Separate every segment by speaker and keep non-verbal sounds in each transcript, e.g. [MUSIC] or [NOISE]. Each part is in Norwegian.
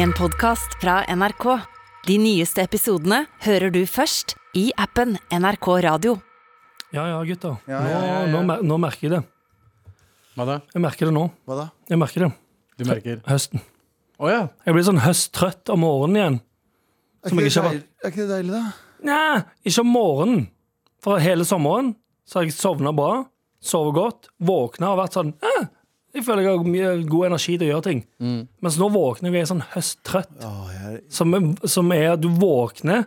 Speaker 1: En podcast fra NRK. De nyeste episodene hører du først i appen NRK Radio.
Speaker 2: Ja, ja, gutter.
Speaker 3: Ja, ja, ja,
Speaker 2: Nå, nå, mer- nå merker jeg det.
Speaker 3: Hva da?
Speaker 2: Jeg merker det nå.
Speaker 3: Hva da?
Speaker 2: Jeg merker det.
Speaker 3: Du
Speaker 4: [LAUGHS]
Speaker 3: merker.
Speaker 2: Høsten.
Speaker 3: Å ja.
Speaker 2: Jeg blir sånn høsttrøtt om morgenen igjen.
Speaker 3: Er
Speaker 2: Som jeg
Speaker 3: ikke, det
Speaker 2: ikke har
Speaker 3: deil- er ikke det deilig, da?
Speaker 2: Nei, ikke om morgenen. For hele sommeren så har jeg sovna bra, sovet godt, våkna og vært sånn eh, Jeg føler jeg har mye god energi til å gjøre ting.
Speaker 3: Mm.
Speaker 2: Mens nå våkner jeg og er sånn høsttrøtt,
Speaker 3: Å, jeg,
Speaker 2: som, som er at du våkner,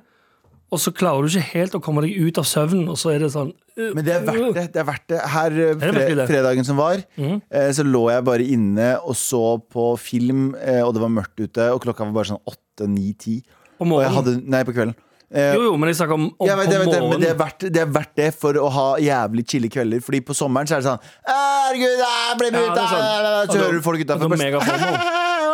Speaker 2: og så klarer du ikke helt å komme deg ut av søvnen, og så er det sånn eh,
Speaker 4: Men det er verdt det. det, er verdt det. Her eh,
Speaker 2: er virkelig
Speaker 4: fre
Speaker 2: det. Mhm.
Speaker 4: fredagen som var, eh, så lå jeg bare inne og så på film, eh, og det var mørkt ute, og klokka var bare sånn åtte, ni, ti.
Speaker 2: Om
Speaker 4: Og jeg
Speaker 2: morgenen.
Speaker 4: hadde Nei, på kvelden. Eh,
Speaker 2: Jo, jo, men jeg snakker om, om,
Speaker 4: jeg vet, jeg
Speaker 2: om
Speaker 4: vet det, men det er,
Speaker 2: morgenen.
Speaker 4: verdt, det er verdt det for å ha jævlig chille kvelder. Fordi på sommeren så er det sånn Herregud, bli med
Speaker 2: Ja,
Speaker 4: ut!
Speaker 2: det er
Speaker 4: ah,
Speaker 2: sånn.
Speaker 4: la, la, la»,
Speaker 2: Og
Speaker 4: Så
Speaker 2: da-
Speaker 4: hører du folk
Speaker 2: og
Speaker 4: utafor.
Speaker 2: da
Speaker 4: Det
Speaker 2: mega FOMO.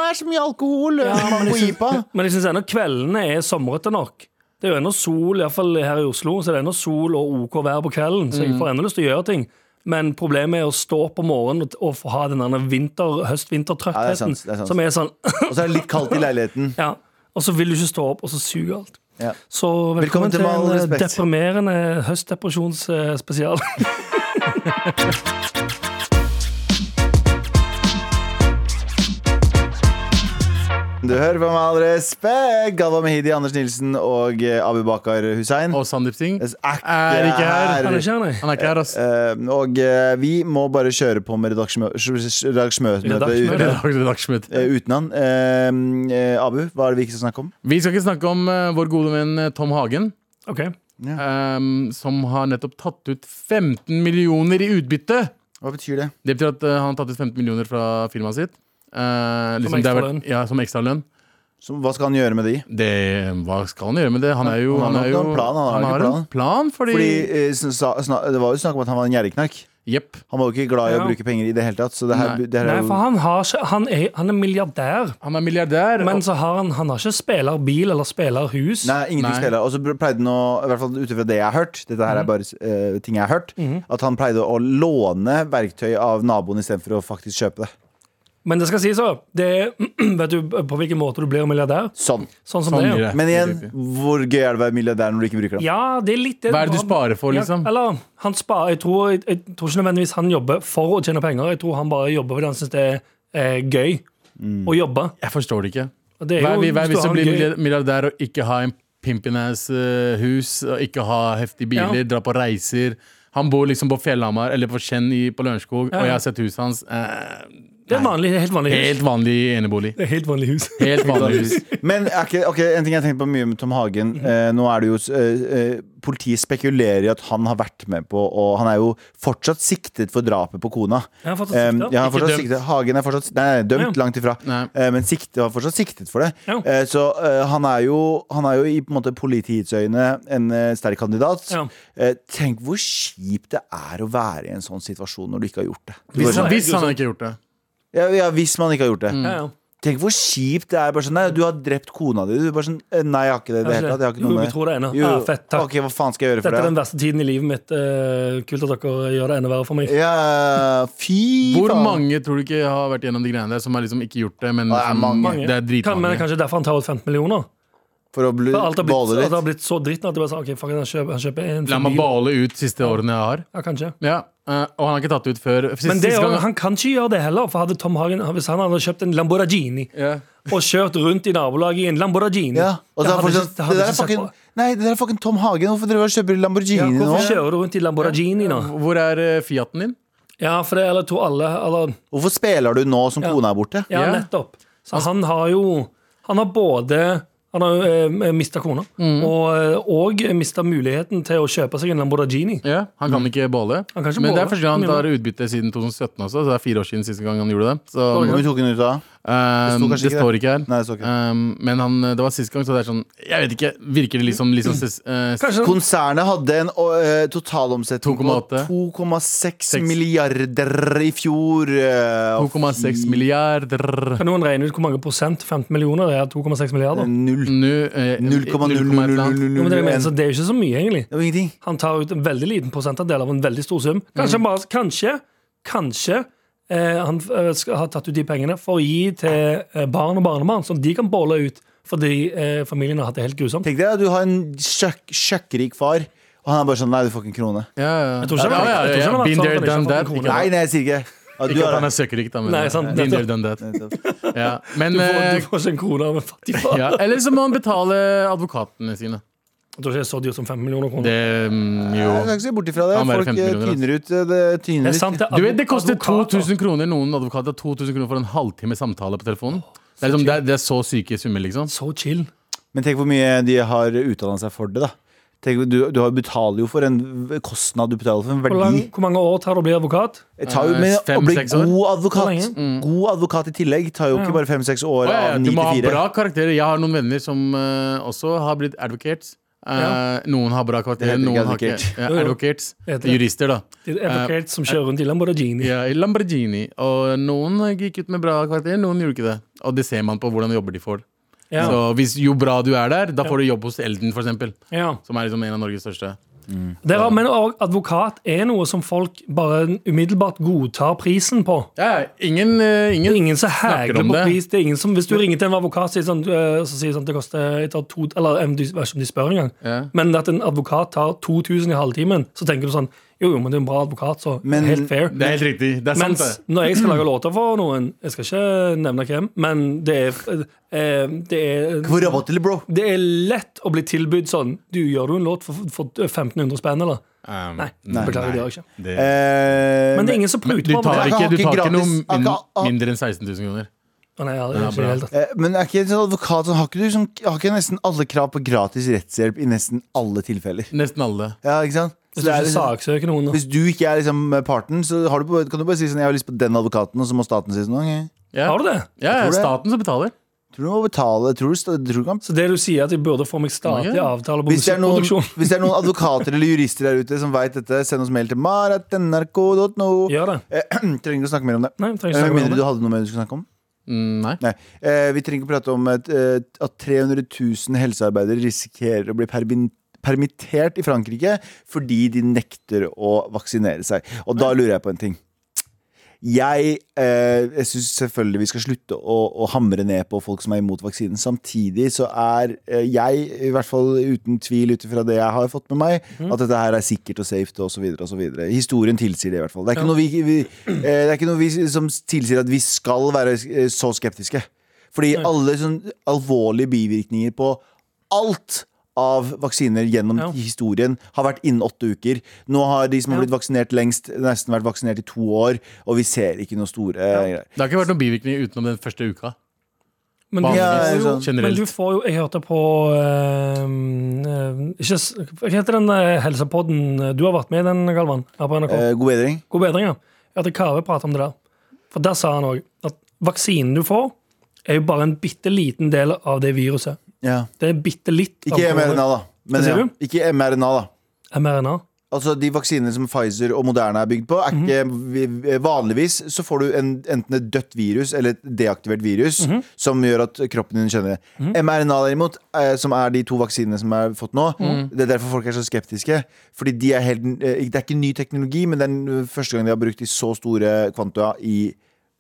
Speaker 4: er så mye alkohol! mange på jipa.
Speaker 2: Men jeg synes ennå kveldene er somrete nok. Det er jo ennå sol, iallfall her i Oslo, så det er ennå sol og OK vær på kvelden. Så
Speaker 4: Mm.
Speaker 2: jeg får ennå lyst til å gjøre ting. Men problemet er å stå opp om morgenen og, og få ha den derne vinter,
Speaker 4: Ja, det er
Speaker 2: høst-vinter-trøttheten.
Speaker 4: sant, det er sant.
Speaker 2: som er sånn [LAUGHS]
Speaker 4: Og så er det litt kaldt i leiligheten.
Speaker 2: Ja. Og så vil du ikke stå opp, og så suger alt.
Speaker 4: Ja.
Speaker 2: Så
Speaker 4: Velkommen
Speaker 2: velkommen,
Speaker 4: til
Speaker 2: til en
Speaker 4: Med all
Speaker 2: eh,
Speaker 4: respekt.
Speaker 2: deprimerende eh,
Speaker 4: [LAUGHS]
Speaker 2: høstdepresjonsspesial.
Speaker 4: Du hører på Med all respekt. Galva Mehidi, Anders Nilsen og eh, Abu Bakar Hussein.
Speaker 3: og Sandeep Singh.
Speaker 4: Er ikke,
Speaker 3: Er ikke her.
Speaker 2: Er det ikke her, nei?
Speaker 3: Han er ikke her, ass.
Speaker 4: Eh, og eh, vi må bare kjøre på med
Speaker 2: Redaksjonsmøte.
Speaker 4: redaksjonsmøtet
Speaker 3: Redaktør Dagsnytt.
Speaker 4: uten han. Eh, eh, Abu, hva er det vi ikke skal snakke om?
Speaker 3: Vi skal ikke snakke om eh, vår gode venn eh, Tom Hagen,
Speaker 2: Ok.
Speaker 3: ehm, som har nettopp tatt ut 15 millioner i utbytte.
Speaker 4: Hva betyr det?
Speaker 3: Det betyr at eh, han har tatt ut 15 millioner fra firmaet sitt. Eh, liksom, det har vært-
Speaker 2: ekstralønn.
Speaker 3: Ja, som ekstralønn.
Speaker 4: Så, hva skal han gjøre med de?
Speaker 3: Det- eh, Hva skal han gjøre med det? Han er jo
Speaker 4: Han har
Speaker 3: er
Speaker 4: nok
Speaker 3: jo-
Speaker 4: en plan, han har
Speaker 3: han
Speaker 4: ikke
Speaker 3: har en plan,
Speaker 4: Fordi
Speaker 3: fordi
Speaker 4: eh, sn- sa, sna, Det var jo snakk om at han var en gjerrigknark.
Speaker 3: Jepp.
Speaker 4: Han var jo ikke glad i
Speaker 2: Ja.
Speaker 4: å bruke penger i det hele tatt. Så det her,
Speaker 3: Nei.
Speaker 4: det her
Speaker 2: Nei, for
Speaker 4: er jo
Speaker 2: han, har ikke, han, er, han er milliardær.
Speaker 3: Han er milliardær.
Speaker 2: Men
Speaker 3: og-
Speaker 2: så har han, han har ikke spillerbil eller spillerhus.
Speaker 4: Nei, ingenting
Speaker 3: Nei. Mhm.
Speaker 4: spiller. Og så pleide han å, i hvert fall ut ifra det jeg har hørt, dette her er bare eh, ting jeg har hørt, at han pleide å låne verktøy av naboen istedenfor å faktisk kjøpe det.
Speaker 2: Men det skal sies òg. [CLEARS THROAT] Vet du på hvilken måte du blir milliardær?
Speaker 4: Sånn.
Speaker 2: Sånn som
Speaker 3: Sånn
Speaker 2: det.
Speaker 3: blir
Speaker 2: er.
Speaker 3: det.
Speaker 4: Men igjen,
Speaker 3: Riktig.
Speaker 4: hvor gøy er det å være milliardær når du ikke bruker den?
Speaker 2: Ja, det er litt det.
Speaker 3: Hva er det du sparer for, liksom?
Speaker 2: Ja, eller, han sparer, jeg, tror, jeg, jeg tror ikke nødvendigvis han jobber for å tjene penger. Jeg tror han bare jobber fordi han syns det er eh, gøy å jobbe.
Speaker 3: Jeg forstår det ikke.
Speaker 2: Og det er
Speaker 3: Mm. Hva er,
Speaker 2: jo-
Speaker 3: vi- hva
Speaker 2: hvis
Speaker 3: er
Speaker 2: du
Speaker 3: hvis du
Speaker 2: har
Speaker 3: blir
Speaker 2: en gøy-
Speaker 3: milliard- milliardær og ikke ha en pimpinass uh, hus, og ikke ha heftige biler,
Speaker 2: Ja.
Speaker 3: dra på reiser? Han bor liksom på Fjellhamar eller på Skjenn i- på Lørenskog, og jeg har sett huset hans. eh,
Speaker 2: Det er et vanlig, helt vanlig hus.
Speaker 3: helt vanlig enebolig.
Speaker 2: Det er helt vanlig hus.
Speaker 3: Helt vanlig hus.
Speaker 4: Men er ikke, ok, En ting jeg har tenkt på mye med Tom Hagen.
Speaker 3: Mhm.
Speaker 4: eh, nå er det jo eh, eh, Politiet spekulerer i at han har vært med på Og han er jo fortsatt siktet for drapet på kona.
Speaker 2: Jeg har fått
Speaker 4: Eh,
Speaker 2: sikta.
Speaker 4: ja, han er
Speaker 3: Ikke
Speaker 4: fortsatt
Speaker 3: dømt.
Speaker 4: siktet. Hagen er fortsatt nei, nei, dømt,
Speaker 2: Ja.
Speaker 4: langt ifra.
Speaker 3: Nei.
Speaker 4: Eh, men siktet var fortsatt siktet for det.
Speaker 2: Ja.
Speaker 4: Eh, så eh, han, er jo, han er jo i på en måte politiets øyne en eh, sterk kandidat.
Speaker 2: Ja.
Speaker 4: Eh, tenk hvor kjipt det er å være i en sånn situasjon når du ikke har gjort det. Du
Speaker 3: Hvis
Speaker 4: bare- sånn,
Speaker 3: han, hvis han ikke har gjort det.
Speaker 4: ja, ja, hvis man ikke har gjort det.
Speaker 3: Mm.
Speaker 2: Ja, ja.
Speaker 4: Tenk hvor kjipt det er. Bare sånn, nei, du har drept kona di. Du bare sånn, eh, nei, jeg har ikke det. i det
Speaker 2: Jeg
Speaker 4: hele
Speaker 2: har
Speaker 4: tatt. Jeg har
Speaker 2: ikke det.
Speaker 4: ikke noe
Speaker 2: Jo,
Speaker 4: med
Speaker 2: vi tror det ene. Ah, fett, takk.
Speaker 4: Ok, hva faen skal jeg gjøre
Speaker 2: Dette er
Speaker 4: for
Speaker 2: den
Speaker 4: det?
Speaker 2: verste tiden i livet mitt. Eh, kult at dere gjør det enda verre for meg.
Speaker 4: Ja, fy
Speaker 3: Hvor
Speaker 4: faen.
Speaker 3: mange tror du ikke har vært gjennom de greiene der, som har liksom ikke gjort det, men
Speaker 4: Det er mange.
Speaker 3: liksom,
Speaker 2: Kan,
Speaker 3: det er
Speaker 2: men det er
Speaker 3: dritmange.
Speaker 2: kanskje derfor han tar ut 15 millioner?
Speaker 4: For å bli
Speaker 2: For alt har blitt,
Speaker 4: balle
Speaker 2: alt har
Speaker 4: litt.
Speaker 2: blitt så dritt nå at de bare sa OK, fuck, it, han kjøper, han kjøper en
Speaker 3: La meg
Speaker 2: bil.
Speaker 3: bale ut siste årene jeg har.
Speaker 2: Ja, kanskje.
Speaker 3: Ja, eh, Og han har ikke tatt ut før siste,
Speaker 2: Men det,
Speaker 3: siste
Speaker 2: er jo-
Speaker 3: gang.
Speaker 2: han kan ikke gjøre det heller. For hadde Tom Hagen, Hvis han hadde kjøpt en Lamborghini
Speaker 3: Ja.
Speaker 2: og kjørt rundt i nabolaget i en Lamborghini
Speaker 4: Ja. Og
Speaker 2: det
Speaker 4: så er
Speaker 2: hadde
Speaker 4: folk
Speaker 2: ikke-
Speaker 4: sånn,
Speaker 2: det hadde
Speaker 4: det der
Speaker 2: ikke
Speaker 4: er
Speaker 2: sett
Speaker 4: fucking
Speaker 2: bra.
Speaker 4: Nei, det der er fucking Tom Hagen. Hvorfor driver du og kjøper Lamborghini
Speaker 2: Ja,
Speaker 4: nå?
Speaker 2: Hvorfor kjører du rundt i Lamborghini nå?
Speaker 3: Hvor er eh, Fiaten din?
Speaker 2: Ja, for det eller to alle eller,
Speaker 4: Hvorfor spiller du nå som kona er borte?
Speaker 2: Ja,
Speaker 3: Ja.
Speaker 2: nettopp. Så
Speaker 4: Altså-
Speaker 2: han har jo Han har både Han har eh, mista kona,
Speaker 4: Mm.
Speaker 2: og, eh, og mista muligheten til å kjøpe seg en Lamborghini.
Speaker 3: Ja, Han kan ikke båle.
Speaker 2: Han kan ikke
Speaker 3: Men det
Speaker 2: båle.
Speaker 3: er første gang han
Speaker 2: Mye
Speaker 3: tar utbytte siden 2017 også. Så det er fire år siden siste gang han gjorde det. Så,
Speaker 4: Hvor mye tok hun ut av?
Speaker 3: ehm,
Speaker 4: sto kanskje
Speaker 3: det,
Speaker 4: ikke
Speaker 3: står ikke her.
Speaker 4: Nei, det står ikke.
Speaker 3: Ehm, men han, det var sist gang, så det er sånn Jeg vet ikke. Virker det liksom, liksom ses- eh,
Speaker 2: Kanskje han,
Speaker 4: Konsernet hadde en eh, totalomsetning på
Speaker 3: 2,8.
Speaker 4: 2,6 milliarder i fjor. eh, og
Speaker 3: 2,6 milliarder
Speaker 2: kan noen regne ut hvor mange prosent 15 millioner er? 2,6 milliarder?
Speaker 4: Null.
Speaker 3: Nu, eh, 0,000.
Speaker 2: Jo, men det, er mer,
Speaker 4: 0,000.
Speaker 2: så det er jo ikke så mye, egentlig.
Speaker 4: Det var ingenting.
Speaker 3: Mm.
Speaker 2: Han tar ut en veldig liten prosentandel av en veldig stor sum. Kanskje, bare, kanskje, kanskje eh, han eh, skal ha tatt ut de pengene for å gi til eh, barn og barnebarn, som de kan bolle ut fordi eh, familien har hatt det helt grusomt.
Speaker 4: Tenk deg at du har en sjøkk- sjøkkrik far, og han er bare sånn Nei, du får ikke en krone.
Speaker 3: Ja, ja.
Speaker 2: tror ikke
Speaker 3: ja,
Speaker 2: han- jeg tror
Speaker 3: ja, ja,
Speaker 2: ikke han
Speaker 3: ja.
Speaker 2: har
Speaker 3: Been
Speaker 2: sagt
Speaker 3: there,
Speaker 2: at han
Speaker 3: done
Speaker 2: ikke har
Speaker 3: that.
Speaker 2: fått en
Speaker 3: Ikke
Speaker 2: krone.
Speaker 4: Nei, nei, jeg sier ikke. Ja, du
Speaker 3: ikke at
Speaker 4: har
Speaker 3: han er søkerik, da, men
Speaker 2: Nei, sant,
Speaker 3: been there,
Speaker 2: nettopp.
Speaker 3: done that. Ja. Men
Speaker 2: Du får,
Speaker 3: eh,
Speaker 2: du får ikke en krone av en fattig far.
Speaker 3: [LAUGHS] ja. Eller så må han betale advokatene sine.
Speaker 2: Jeg tror ikke det er så dyrt som 5 millioner kroner.
Speaker 3: Det mm, jo
Speaker 4: Jeg skal ikke se bort ifra det.
Speaker 3: Han bare
Speaker 4: Folk
Speaker 3: 15
Speaker 4: eh,
Speaker 3: millioner,
Speaker 4: tyner ut eh, det tyner
Speaker 2: Det er
Speaker 4: ut.
Speaker 2: sant, det er altså.
Speaker 3: Du vet, Det
Speaker 2: advo-
Speaker 3: koster
Speaker 2: advokater.
Speaker 3: 2000 kroner noen advokater 2000 kroner for en halvtime samtale på telefonen. Det er, liksom, det er, det er så syke summer, liksom.
Speaker 2: Så chill.
Speaker 4: Men tenk hvor mye de har utdanna seg for det, da. Tenk, du, du har- betaler jo for en v- kostnad, du betaler for en
Speaker 2: Hvor, lang,
Speaker 4: verdi.
Speaker 2: hvor mange år tar det å bli advokat?
Speaker 4: Det tar jo, men
Speaker 3: Fem,
Speaker 4: å bli
Speaker 3: seks Eh, år? Mm.
Speaker 4: god
Speaker 2: Hvor
Speaker 4: advokat,
Speaker 2: lenge?
Speaker 4: god advokat i tillegg tar jo ikke bare fem-seks år
Speaker 3: Å, ja, ja,
Speaker 4: av
Speaker 3: Du
Speaker 4: ni
Speaker 3: må ha
Speaker 4: til fire.
Speaker 3: bra karakterer. Jeg har noen venner som eh, også har blitt advocates. Eh,
Speaker 2: Ja.
Speaker 3: Noen har bra karakterer,
Speaker 4: Det heter ikke
Speaker 3: noen har ikke
Speaker 4: advocate.
Speaker 3: ja,
Speaker 2: Jo, jo.
Speaker 3: advocates.
Speaker 2: Det heter det.
Speaker 3: Jurister, da.
Speaker 2: Det er advokat som kjører rundt i Lamborghini.
Speaker 3: Eh, Ja, i Lamborghini. Og noen gikk ut med bra karakterer, noen gjorde ikke det. Og det ser man på hvordan jobber de får.
Speaker 2: Ja.
Speaker 3: Så hvis, jo bra du er der, da får du jobb hos Elden, for eksempel.
Speaker 2: Ja.
Speaker 3: Som er liksom en av Norges største.
Speaker 2: Det er, men og advokat er noe som folk bare umiddelbart godtar prisen på.
Speaker 3: Ja, ja, ingen, eh,
Speaker 2: Det er
Speaker 3: ingen
Speaker 2: ingen som
Speaker 3: Snakker
Speaker 2: hegler
Speaker 3: om
Speaker 2: på
Speaker 3: det.
Speaker 2: pris. Det er ingen som, hvis du ringer til en advokat sier sånn, øh, så sier sånn, det koster jeg tar to, Eller jeg vet ikke om de spør engang.
Speaker 3: Ja.
Speaker 2: Men at en advokat tar 2000 i halvtimen, så tenker du sånn Jo, jo, men det er en bra advokat, så
Speaker 4: Men-
Speaker 2: helt fair.
Speaker 3: Det er helt riktig. Det er
Speaker 2: Mens
Speaker 3: sant, det.
Speaker 2: når jeg skal lage låter for noen Jeg skal ikke nevne hvem, men det er, eh, det er
Speaker 4: Hvor rabatt eller bro?
Speaker 2: det er lett å bli tilbudt sånn Du, gjør du en låt for, for 1500 spenn, eller?
Speaker 3: Um,
Speaker 2: Nei, beklager, det gjør jeg ikke.
Speaker 3: det-
Speaker 4: Eh,
Speaker 2: Men det er ingen som
Speaker 3: Men
Speaker 2: pruter
Speaker 3: du
Speaker 2: på
Speaker 3: tar
Speaker 2: meg.
Speaker 4: Jeg kan
Speaker 3: ikke, du
Speaker 4: ikke
Speaker 3: tar ikke noe
Speaker 4: gratis. Jeg
Speaker 3: min,
Speaker 4: kan- ah.
Speaker 3: mindre enn 16 000 kroner.
Speaker 2: Å, Nei, aldri, ikke i det hele tatt.
Speaker 4: Eh, Men er ikke en sånn advokat som har ikke, du, som, har ikke nesten alle krav på gratis rettshjelp i nesten alle tilfeller?
Speaker 3: Nesten alle.
Speaker 4: Ja, ikke sant? Så
Speaker 2: Hvis du
Speaker 4: det er
Speaker 2: ikke
Speaker 4: liksom-
Speaker 2: saksøker noen da.
Speaker 4: hvis du ikke er liksom parten, så har du, bare- kan du bare si sånn Jeg har lyst på den advokaten, og så må staten si sånn. «Ok,
Speaker 3: Ja.
Speaker 2: Har du det?
Speaker 3: Ja,
Speaker 4: Jeg tror det.
Speaker 3: staten som betaler.
Speaker 4: Tror du du må betale? Tror du, sta- tror du kan
Speaker 2: Så det du sier, at jeg burde få meg statlig
Speaker 3: Ja.
Speaker 2: avtale på
Speaker 4: hvis det, er noen,
Speaker 2: musikkproduksjon?
Speaker 4: hvis det er noen advokater eller jurister der ute som veit dette, send oss mail til maratnrk.no.
Speaker 2: Gjør det.
Speaker 4: Eh, [CLEARS THROAT] trenger ikke å snakke mer om det. Eh,
Speaker 2: Nei, jeg trenger ikke
Speaker 4: Med
Speaker 2: snakke mer om
Speaker 4: mindre du
Speaker 2: det.
Speaker 4: hadde noe mer du skulle snakke om?
Speaker 3: Mm, nei.
Speaker 4: Nei. Eh, vi trenger ikke prate om et, eh, at 300 000 helsearbeidere risikerer å bli permin- permittert i Frankrike fordi de nekter å vaksinere seg. Og da lurer jeg på en ting. Jeg, eh, jeg syns selvfølgelig vi skal slutte å, å hamre ned på folk som er imot vaksinen. Samtidig så er eh, jeg, i hvert fall uten tvil ut ifra det jeg har fått med meg, at dette her er sikkert og safe og så videre og så videre. Historien tilsier det i hvert fall. Det er ikke noe, vi, vi, eh, det er ikke noe vi som tilsier at vi skal være eh, så skeptiske. Fordi alle sånn alvorlige bivirkninger på alt av vaksiner gjennom
Speaker 2: Ja.
Speaker 4: historien har vært innen åtte uker. Nå har de som har blitt vaksinert lengst, nesten vært vaksinert i to år, og vi ser ikke noe store eh, greier.
Speaker 3: Det har ikke vært noen bivirkninger utenom den første uka.
Speaker 2: Men du,
Speaker 4: Ja,
Speaker 3: Vanligvis,
Speaker 2: men
Speaker 4: sånn.
Speaker 2: du
Speaker 3: generelt.
Speaker 2: får jo Jeg hørte på eh, eh, ikke, s- Hva heter den eh, helsepodden Du har vært med i den, Galvan? Her på NRK.
Speaker 4: Eh, god bedring.
Speaker 2: God bedring, ja. Jeg hørte Kave prate om det der. For der sa han òg at vaksinen du får, er jo bare en bitte liten del av det viruset.
Speaker 4: Ja.
Speaker 2: Det er bitte litt av
Speaker 4: Ikke
Speaker 2: korona.
Speaker 4: mRNA, da. Men,
Speaker 2: Hva sier
Speaker 4: ja.
Speaker 2: du?
Speaker 4: Ikke mRNA, da.
Speaker 2: mRNA.
Speaker 4: Altså De vaksinene som Pfizer og Moderna er bygd på,
Speaker 2: Mhm.
Speaker 4: er ikke vi- eh, Vanligvis så får du en, enten et dødt virus eller et deaktivert virus
Speaker 2: Mhm.
Speaker 4: som gjør at kroppen din skjønner det. mRNA, derimot, eh, som er de to vaksinene som er fått nå,
Speaker 2: Mhm.
Speaker 4: det er derfor folk er så skeptiske. Fordi de er helt eh, Det er ikke ny teknologi, men det er den første gang de har brukt i så store kvanta i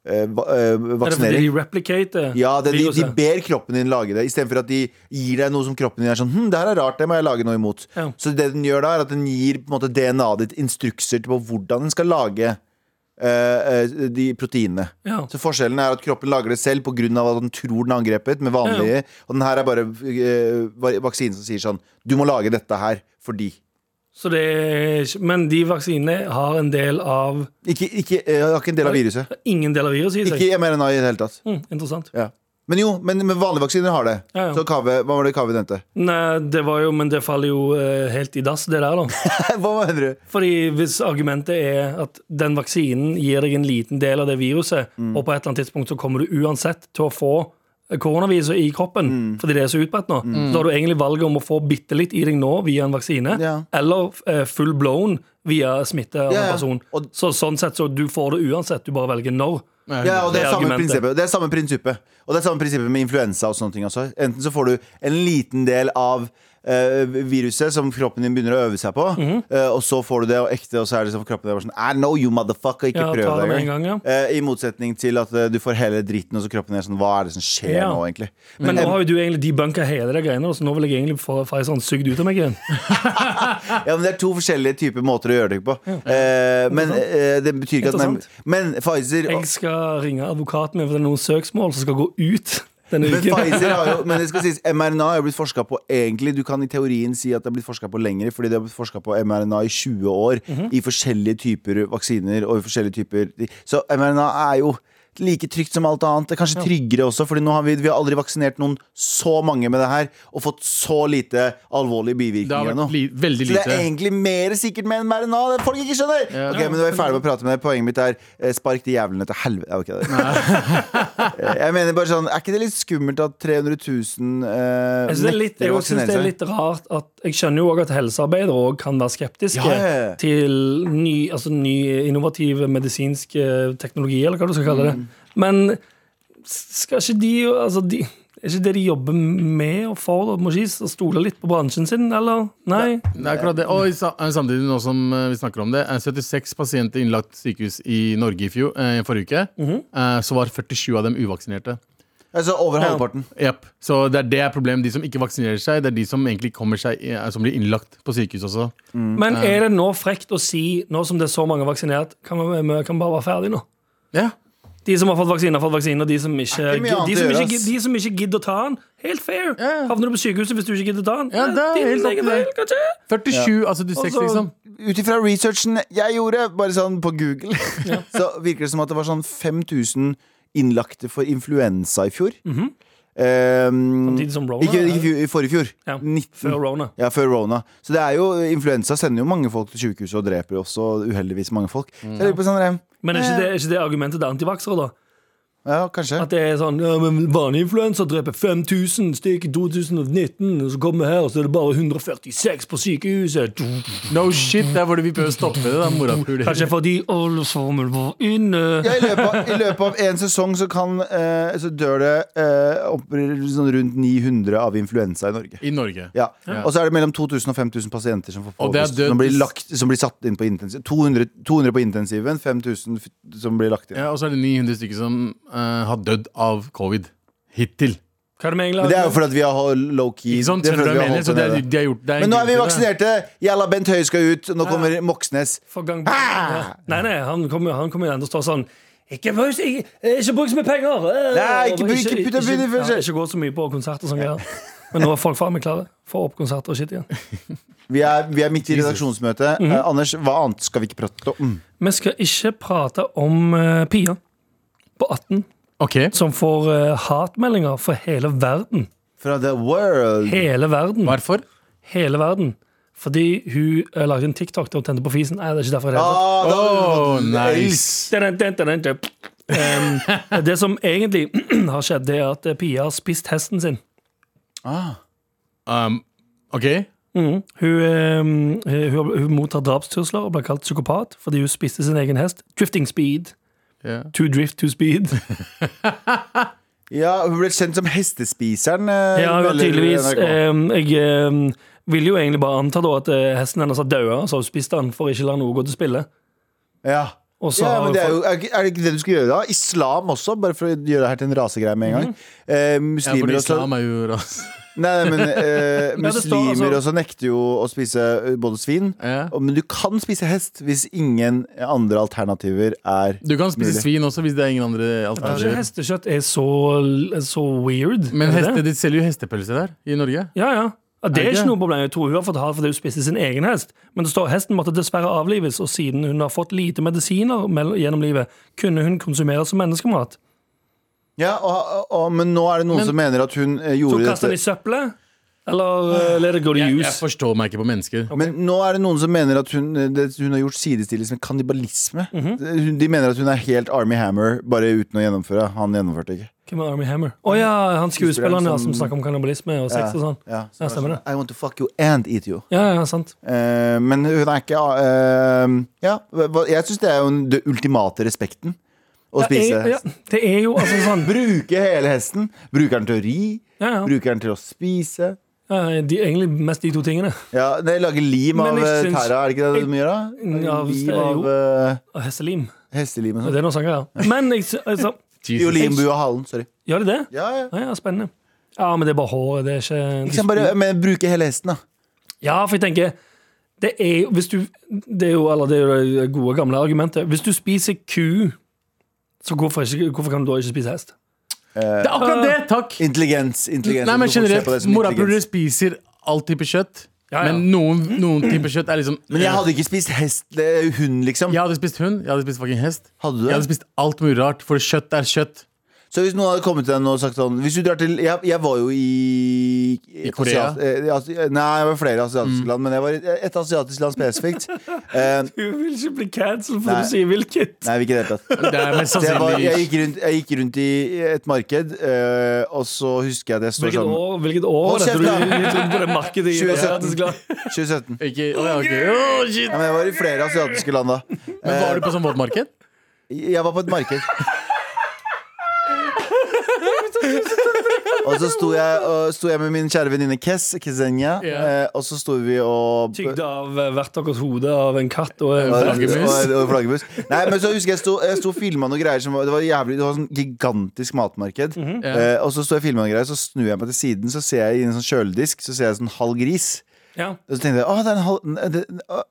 Speaker 4: eh, va- eh,
Speaker 2: Er det fordi
Speaker 4: vaksinering.
Speaker 2: de replicater
Speaker 4: [LAUGHS] Ja, det, de, de
Speaker 2: viruset?
Speaker 4: ber kroppen din lage det, istedenfor at de gir deg noe som kroppen din er sånn hm, det her er rart, det må jeg lage noe imot.
Speaker 2: Ja.
Speaker 4: Så det den gjør da, er at den gir på en måte DNA-et ditt instrukser til på hvordan den skal lage eh, eh, de proteinene.
Speaker 2: ja.
Speaker 4: Så forskjellen er at kroppen lager det selv pga. at den tror den er angrepet med vanlige, og den her er bare eh, va- vaksinen som sier sånn du må lage dette her fordi.
Speaker 2: Så det er ikke, men de vaksinene har en del av
Speaker 4: Ikke, ikke, eh, har ikke en del av viruset.
Speaker 2: Ingen del av viruset i seg.
Speaker 4: Ikke mRNA i det hele tatt.
Speaker 2: Mm, interessant.
Speaker 4: Ja. Men jo, men, men vanlige vaksiner har det.
Speaker 2: Ja, ja.
Speaker 4: Så Kaveh- hva var det
Speaker 2: [LAUGHS]
Speaker 4: Kaveh nevnte?
Speaker 2: Nei, det var jo, men det faller jo eh, helt i dass, det
Speaker 4: [LAUGHS]
Speaker 2: der, da.
Speaker 4: Hva mener du?
Speaker 2: Fordi hvis argumentet er at den vaksinen gir deg en liten del av det viruset,
Speaker 4: Mm.
Speaker 2: og på et eller annet tidspunkt så kommer du uansett til å få eh, koronaviruset i kroppen,
Speaker 4: Mm.
Speaker 2: fordi det er så utbredt nå, så da har du egentlig valget om å få bitte litt i deg nå via en vaksine,
Speaker 4: Ja.
Speaker 2: eller eh, full blown via smitte av
Speaker 4: Ja, ja.
Speaker 2: en person.
Speaker 4: Og-
Speaker 2: så sånn sett så du får det uansett, du bare velger når.
Speaker 4: Ja, og
Speaker 2: Det
Speaker 4: det er
Speaker 2: er
Speaker 4: samme
Speaker 2: argumentet.
Speaker 4: prinsippet. Det er samme prinsippet. Og det er samme prinsippet med influensa og sånne ting også. Enten så får du en liten del av eh, viruset som kroppen din begynner å øve seg på,
Speaker 2: Mhm.
Speaker 4: eh, og så får du det og ekte, og så er det liksom kroppen din bare sånn I know you motherfucker, ikke
Speaker 2: Ja,
Speaker 4: prøv
Speaker 2: ta det med en
Speaker 4: deg
Speaker 2: gang,
Speaker 4: engang.
Speaker 2: ja.
Speaker 4: Eh, I motsetning til at eh, du får hele dritten, og så kroppen din er sånn Hva er det som skjer
Speaker 2: Ja.
Speaker 4: nå, egentlig?
Speaker 2: Men nå har jo du egentlig debunka hele det greiene, så nå vil jeg egentlig få Faison sugd ut av meg igjen.
Speaker 4: Ja, men Det er to forskjellige typer måter å gjøre det på. Eh, men eh, det betyr ikke at man,
Speaker 2: Interessant.
Speaker 4: Men Pfizer
Speaker 2: Jeg skal ringe advokaten min, for det er noen søksmål som skal gå ut denne
Speaker 4: Men
Speaker 2: uken.
Speaker 4: Pfizer har jo Men det skal sies, mRNA er jo blitt forska på egentlig. Du kan i teorien si at det er blitt forska på lenger, fordi det har blitt forska på mRNA i 20 år i forskjellige typer vaksiner og i forskjellige typer Så mRNA er jo like trygt som alt annet. Det er kanskje tryggere også, Fordi nå har vi, vi har aldri vaksinert noen så mange med det her og fått så lite alvorlige bivirkninger.
Speaker 3: Det har
Speaker 4: nå.
Speaker 3: vært li veldig
Speaker 4: Så det er
Speaker 3: lite.
Speaker 4: egentlig mer sikkert med en mRNA. Det folk ikke skjønner Ok, men nå er jeg ferdig med å prate med deg Poenget mitt er eh, spark de jævlene til helvete. Ja, ok, det- Eh, [LAUGHS] jeg mener bare sånn, Er ikke det litt skummelt at 300 000 eh,
Speaker 2: Jeg synes det er litt,
Speaker 4: nekter
Speaker 2: jeg
Speaker 4: å
Speaker 2: synes
Speaker 4: vaksinere
Speaker 2: det er
Speaker 4: seg?
Speaker 2: litt rart at, Jeg skjønner jo òg at helsearbeidere også kan være skeptiske
Speaker 4: Ja, ja, ja.
Speaker 2: til ny, altså ny innovativ medisinsk eh, teknologi, eller hva du skal kalle det.
Speaker 4: Mm.
Speaker 2: Men skal ikke de altså de, Er ikke det de jobber med og for? og Må ikke de stole litt på bransjen sin, eller? Nei?
Speaker 3: Det er akkurat det. Og i sa- eh, samtidig, nå som eh, vi snakker om det, eh, 76 pasienter innlagt sykehus i Norge i fjor, eh, forrige uke. eh, Så var 47 av dem uvaksinerte.
Speaker 4: Altså Over halvparten.
Speaker 3: Jep. Så det er det er problemet. De som ikke vaksinerer seg, det er de som egentlig kommer seg, eh, som blir innlagt på sykehus også.
Speaker 2: Men er det nå frekt å si, nå som det er så mange vaksinert, kan vi, vi kan bare være ferdig nå?
Speaker 3: Ja.
Speaker 2: De som har fått vaksine, har fått vaksine, og de som ikke,
Speaker 4: Det er ikke mye annet
Speaker 2: de som
Speaker 4: å gjøre,
Speaker 2: ikke,
Speaker 4: ass.
Speaker 2: de som ikke gidder å ta den, helt fair.
Speaker 3: Ja.
Speaker 2: Havner du på sykehuset hvis du ikke gidder å ta den?
Speaker 3: Ja, det er
Speaker 2: din
Speaker 3: helt opp
Speaker 2: egen
Speaker 3: til
Speaker 2: feil,
Speaker 3: deg.
Speaker 2: kanskje?
Speaker 3: 47 av 76,
Speaker 2: Og så-
Speaker 3: liksom.
Speaker 4: Ut ifra researchen jeg gjorde, bare sånn på Google,
Speaker 2: [LAUGHS]
Speaker 4: så virker det som at det var sånn 5000 innlagte for influensa i fjor. Eh,
Speaker 2: Mhm. Samtidig som Rona,
Speaker 4: ikke ikke i
Speaker 2: eller?
Speaker 4: fjor- i forrige fjor.
Speaker 2: Ja,
Speaker 4: 19.
Speaker 2: Før Rona.
Speaker 4: Ja, før Rona. Så det er jo, influensa sender jo mange folk til sykehuset og dreper jo også uheldigvis mange folk.
Speaker 3: Mm.
Speaker 4: Så jeg lurer på sånn der,
Speaker 2: Men er ikke det, er ikke det argumentet til antivaksere, da?
Speaker 4: Ja, kanskje.
Speaker 2: At det er sånn ja, men vanlig influensa dreper 5000 stykk i 2019, og så kommer vi her, og så er det bare 146 på sykehuset.
Speaker 3: No shit, det er hvor vi prøver å stoppe [LAUGHS] det. da, morapuler.
Speaker 2: Kanskje fordi alle sammen var inne.
Speaker 4: Ja, i, løpet av, I løpet av en sesong så, kan, eh, så dør det eh, opp, sånn rundt 900 av influensa i Norge.
Speaker 3: I Norge.
Speaker 4: Ja. Og så er det mellom 2000 og 5000 pasienter som, får
Speaker 3: Og det er
Speaker 4: påvist-
Speaker 3: død-
Speaker 4: som, blir, lagt, som blir satt inn på intensiv. 200, 200 på intensiven, 5000 f- som blir lagt inn.
Speaker 3: Ja, og så er det 900 stykker som eh, har dødd av covid. Hittil.
Speaker 2: Hva er det med England?
Speaker 4: Men det er jo fordi at vi har low-key.
Speaker 3: Ikke sant?
Speaker 4: det er fordi vi har
Speaker 3: Skjønner du hva jeg mener?
Speaker 4: holdt
Speaker 3: Så
Speaker 4: det
Speaker 3: det er,
Speaker 4: nede.
Speaker 3: det er gjort, det er en
Speaker 4: Men nå er vi
Speaker 3: grunn til det.
Speaker 4: vaksinerte! Jalla, Bent Høie skal ut. Nå kommer Moxnes.
Speaker 2: For gang Nei, nei, han kommer han kommer igjen og står sånn ikke, bruk- ikke, ikke bruk så mye penger! eh,
Speaker 4: Nei, ikke
Speaker 2: og
Speaker 4: bruk- ikke putt opp i det
Speaker 2: ikke-
Speaker 4: først.
Speaker 2: ja, ikke gå så mye på konsert og sånn greier. Men nå er folk faen meg klare. Få opp konserter og shit igjen.
Speaker 4: Vi er, vi er midt i redaksjonsmøtet.
Speaker 2: Mhm.
Speaker 4: Eh, Anders, hva annet skal vi ikke prate om?
Speaker 2: Vi skal ikke prate om eh, Pia på 18
Speaker 3: Ok,
Speaker 2: som får eh, hatmeldinger fra hele verden.
Speaker 4: Fra The World.
Speaker 2: Hele verden.
Speaker 3: Hvorfor?
Speaker 2: Hele verden. Fordi hun eh, lagde en TikTok der hun tente på fisen. Nei, det er ikke derfor. jeg heter.
Speaker 4: Ah, da
Speaker 3: Oh,
Speaker 4: har vi fått-
Speaker 3: nice.
Speaker 2: Dun, dun, dun,
Speaker 4: [LAUGHS]
Speaker 2: dun, dun. Um, Det som egentlig [CLEARS THROAT] har skjedd, det er at eh, Pia har spist hesten sin.
Speaker 3: Um, ok.
Speaker 2: Hun, ehm, hun, hun mottar drapstrusler og ble kalt psykopat fordi hun spiste sin egen hest. Drifting speed.
Speaker 3: Ja.
Speaker 2: To drift to speed.
Speaker 4: Ja, hun ble kjent som hestespiseren. eh,
Speaker 2: Ja, hun var
Speaker 4: melder
Speaker 2: tydeligvis
Speaker 4: NRK.
Speaker 2: ehm, Jeg ehm, ville jo egentlig bare anta da at eh, hesten hennes har daua, så har hun spiste den for ikke å la noe gå til spille.
Speaker 4: ja.
Speaker 2: Og så
Speaker 4: ja,
Speaker 2: har
Speaker 4: men
Speaker 2: hun
Speaker 4: det er,
Speaker 2: fått-
Speaker 4: jo, er ikke- er det ikke det du skal gjøre da? Islam også, bare for å gjøre det her til en rasegreie med en
Speaker 2: Mhm.
Speaker 4: gang. Eh,
Speaker 3: Ja, for
Speaker 4: muslimer også
Speaker 3: islam er jo
Speaker 4: [LAUGHS]
Speaker 3: ras.
Speaker 2: [LAUGHS]
Speaker 4: Nei, nei, men eh,
Speaker 2: Ja, det står altså-
Speaker 4: Muslimer også nekter jo å spise eh, både svin.
Speaker 3: Ja.
Speaker 4: Og- Men du kan spise hest hvis ingen andre alternativer er
Speaker 3: Du kan spise
Speaker 4: Mulig.
Speaker 3: svin også hvis det er ingen andre
Speaker 2: Kanskje
Speaker 3: alternativer.
Speaker 2: hestekjøtt Altså, er så, så weird.
Speaker 3: Men
Speaker 2: er det
Speaker 3: heste,
Speaker 2: det?
Speaker 3: de selger jo hestepølse der i Norge.
Speaker 2: Ja, ja. Ja, Det
Speaker 3: Er
Speaker 2: er
Speaker 3: det?
Speaker 2: ikke noe problem. Jeg tror hun har fått hat fordi hun spiste sin egen hest. Men det står hesten måtte dessverre avlives, og siden hun har fått lite medisiner mell- gjennom livet, kunne hun konsumeres som menneskemat.
Speaker 4: Ja, og, og, Men nå er det noen
Speaker 3: Men-
Speaker 4: som mener at hun eh,
Speaker 2: Så
Speaker 4: gjorde
Speaker 2: kast den
Speaker 4: dette
Speaker 2: i søppelet, eller eh, let it go to
Speaker 3: Jeg, jeg
Speaker 2: use.
Speaker 3: forstår meg ikke på mennesker.
Speaker 4: Men nå er det noen som mener at hun, eh, det, hun har gjort sidestilles med kannibalisme.
Speaker 2: Mhm.
Speaker 4: Eh, Hun- De mener at hun er helt Army Hammer, bare uten å gjennomføre. Han gjennomførte ikke.
Speaker 2: Hvem er Army Hammer? Å ja, han skuespilleren ja, som snakker om kannibalisme og sex og sånn.
Speaker 4: Ja,
Speaker 2: Ja, stemmer det.
Speaker 4: I want to fuck you and eat you.
Speaker 2: Ja, ja, sant.
Speaker 4: Eh, men hun er ikke eh, Ja, hva- jeg syns det er jo den- det ultimate respekten. å spise
Speaker 2: Ja,
Speaker 4: hest.
Speaker 2: ja, det er jo altså sånn
Speaker 4: Bruke hele hesten. Bruker den til å ri.
Speaker 2: ja, ja.
Speaker 4: Bruker den til å spise.
Speaker 2: Eh, De, Egentlig mest de to tingene.
Speaker 4: Ja, nei, Lage lim
Speaker 2: Men
Speaker 4: av
Speaker 2: jeg
Speaker 4: eh,
Speaker 2: syns-
Speaker 4: tæra, er det ikke det de gjør? da?
Speaker 2: Ja,
Speaker 4: Lim
Speaker 2: det er jo-
Speaker 4: av eh,
Speaker 2: Og Hestelim.
Speaker 4: hestelim og
Speaker 2: Det
Speaker 4: sånn.
Speaker 2: er noe sånt, ja. Men jeg, sy- altså,
Speaker 4: Jo,
Speaker 3: Jesus.
Speaker 4: limbue og halen. Sorry.
Speaker 2: gjør de det?
Speaker 4: Ja, ja.
Speaker 2: Ja, ja, spennende. Ja, men det er bare håret. Det er ikke,
Speaker 4: Ikke sant, bare men bruke hele hesten, da.
Speaker 2: Ja, for jeg tenker Det er jo, hvis du, det, er jo eller det er jo det gode gamle argumentet. Hvis du spiser ku, så hvorfor, ikke, hvorfor kan du da ikke spise hest?
Speaker 3: Det er akkurat det! Takk!
Speaker 4: Intelligens. intelligens
Speaker 3: Nei, men
Speaker 4: Du får se på det
Speaker 3: generelt,
Speaker 4: som
Speaker 3: morapulere
Speaker 4: intelligens.
Speaker 3: spiser all type kjøtt.
Speaker 2: Ja, ja.
Speaker 3: Men noen, noen type kjøtt er liksom
Speaker 4: Men jeg hadde ikke spist hest, eh, hund, liksom.
Speaker 3: Jeg hadde spist hund, jeg hadde spist fucking hest.
Speaker 4: Hadde du
Speaker 3: Jeg
Speaker 4: det?
Speaker 3: hadde spist alt mulig rart, for kjøtt er kjøtt.
Speaker 4: Så hvis noen hadde kommet til deg nå og sagt sånn hvis du drar til, jeg, jeg var jo i
Speaker 3: I Korea?
Speaker 4: asiat-
Speaker 3: Mm.
Speaker 4: eh, asi- Nei, jeg var i flere asiatiske land, men jeg var i eh, et asiatisk land
Speaker 3: [LAUGHS]
Speaker 4: spesifikt. Eh,
Speaker 2: Du vil ikke bli cancelled
Speaker 4: Nei. du sier
Speaker 2: hvilket.
Speaker 4: nei, vi ikke i det hele tatt.
Speaker 3: Det er mest
Speaker 4: Så jeg, var, jeg,
Speaker 3: sannsynlig
Speaker 4: gikk rundt, jeg gikk rundt i et marked, eh, og så husker jeg at jeg står
Speaker 2: Hvilket
Speaker 4: sånn
Speaker 2: år, hvilket år var
Speaker 4: Hold
Speaker 2: dette
Speaker 4: kjeft,
Speaker 2: du
Speaker 4: da.
Speaker 2: gikk rundt på det markedet? i
Speaker 4: 2017.
Speaker 2: Asiatisk land?
Speaker 4: 2017.
Speaker 3: ikke, å, ja, ok. Å, shit.
Speaker 4: Ja, men jeg var i flere asiatiske land da.
Speaker 3: Men var du på sånn våtmarked?
Speaker 4: Jeg var på et marked. og så sto jeg, og sto jeg med min kjære venninne Kes, Kesenia,
Speaker 3: Ja.
Speaker 4: eh, og så sto vi og
Speaker 2: Tygde av eh, hvert deres hode av en katt og en
Speaker 4: og-
Speaker 3: flaggermus.
Speaker 4: og- og flaggermus. Nei, men så husker jeg sto, jeg sto og filma noen greier som var, Det var jævlig, det var sånn gigantisk matmarked.
Speaker 3: Mhm.
Speaker 4: eh, og så sto jeg og filma noen greier, så snur jeg meg til siden, så ser jeg i en sånn kjøledisk Så ser jeg sånn halv gris.
Speaker 2: Ja,
Speaker 4: Og så tenkte jeg, å, det er en halv det, å,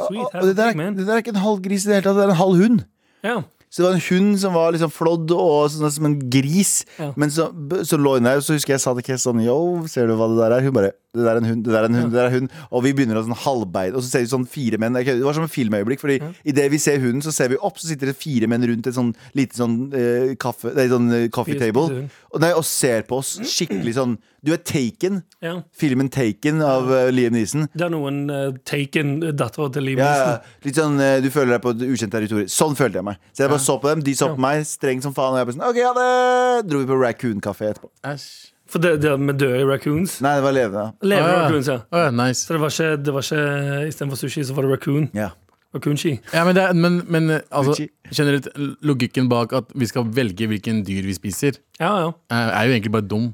Speaker 4: å,
Speaker 2: Sweet,
Speaker 4: å, det, der er,
Speaker 2: man.
Speaker 4: det der er ikke en halv gris i det hele tatt, det er en halv hund.
Speaker 2: ja.
Speaker 4: Så det var en hund som var liksom flådd og sånn som en gris.
Speaker 2: Ja.
Speaker 4: Men så, b- så lå hun der, og så husker jeg sa til Kes sånn Yo, ser du hva det der er? Hun bare Det der er en hund, det der er en hund, det der er en hund. Og vi begynner å sånn halvbein, og så ser vi sånn fire menn. Ok, Det var som et filmøyeblikk, fordi i idet vi ser hunden, så ser vi opp, så sitter det fire menn rundt et sånn lite sånn eh, kaffe Nei, sånn eh, coffee
Speaker 2: Fire spiser
Speaker 4: table.
Speaker 2: hund.
Speaker 4: Og, nei, og ser på oss skikkelig sånn Du er Taken.
Speaker 2: ja.
Speaker 4: Filmen Taken av eh, Liam Neeson.
Speaker 2: Det er noen eh, taken dattera til Liv
Speaker 4: Ja, ja.
Speaker 2: Nissen.
Speaker 4: Litt sånn eh, du føler deg på et ukjent territorium. Sånn følte jeg meg. Så jeg bare så på dem, de så på meg, streng som faen. Og jeg bare sånn, ok, ja det Dro vi på Raccoon Café etterpå.
Speaker 3: Æsj.
Speaker 2: For det, det med døde raccoons.
Speaker 4: Nei, det var levende.
Speaker 3: Å,
Speaker 2: Levende
Speaker 3: ja.
Speaker 2: raccoons, ja.
Speaker 3: Å, ja, nice.
Speaker 2: Så det var ikke, det var ikke eh, istedenfor sushi, så var det raccoon.
Speaker 4: Ja.
Speaker 2: Raccoon-ski.
Speaker 3: Ja, men, det, er- men, men altså,
Speaker 4: Gucci.
Speaker 3: generelt, logikken bak at vi skal velge hvilken dyr vi spiser,
Speaker 2: Ja, ja.
Speaker 3: er er jo egentlig bare dum.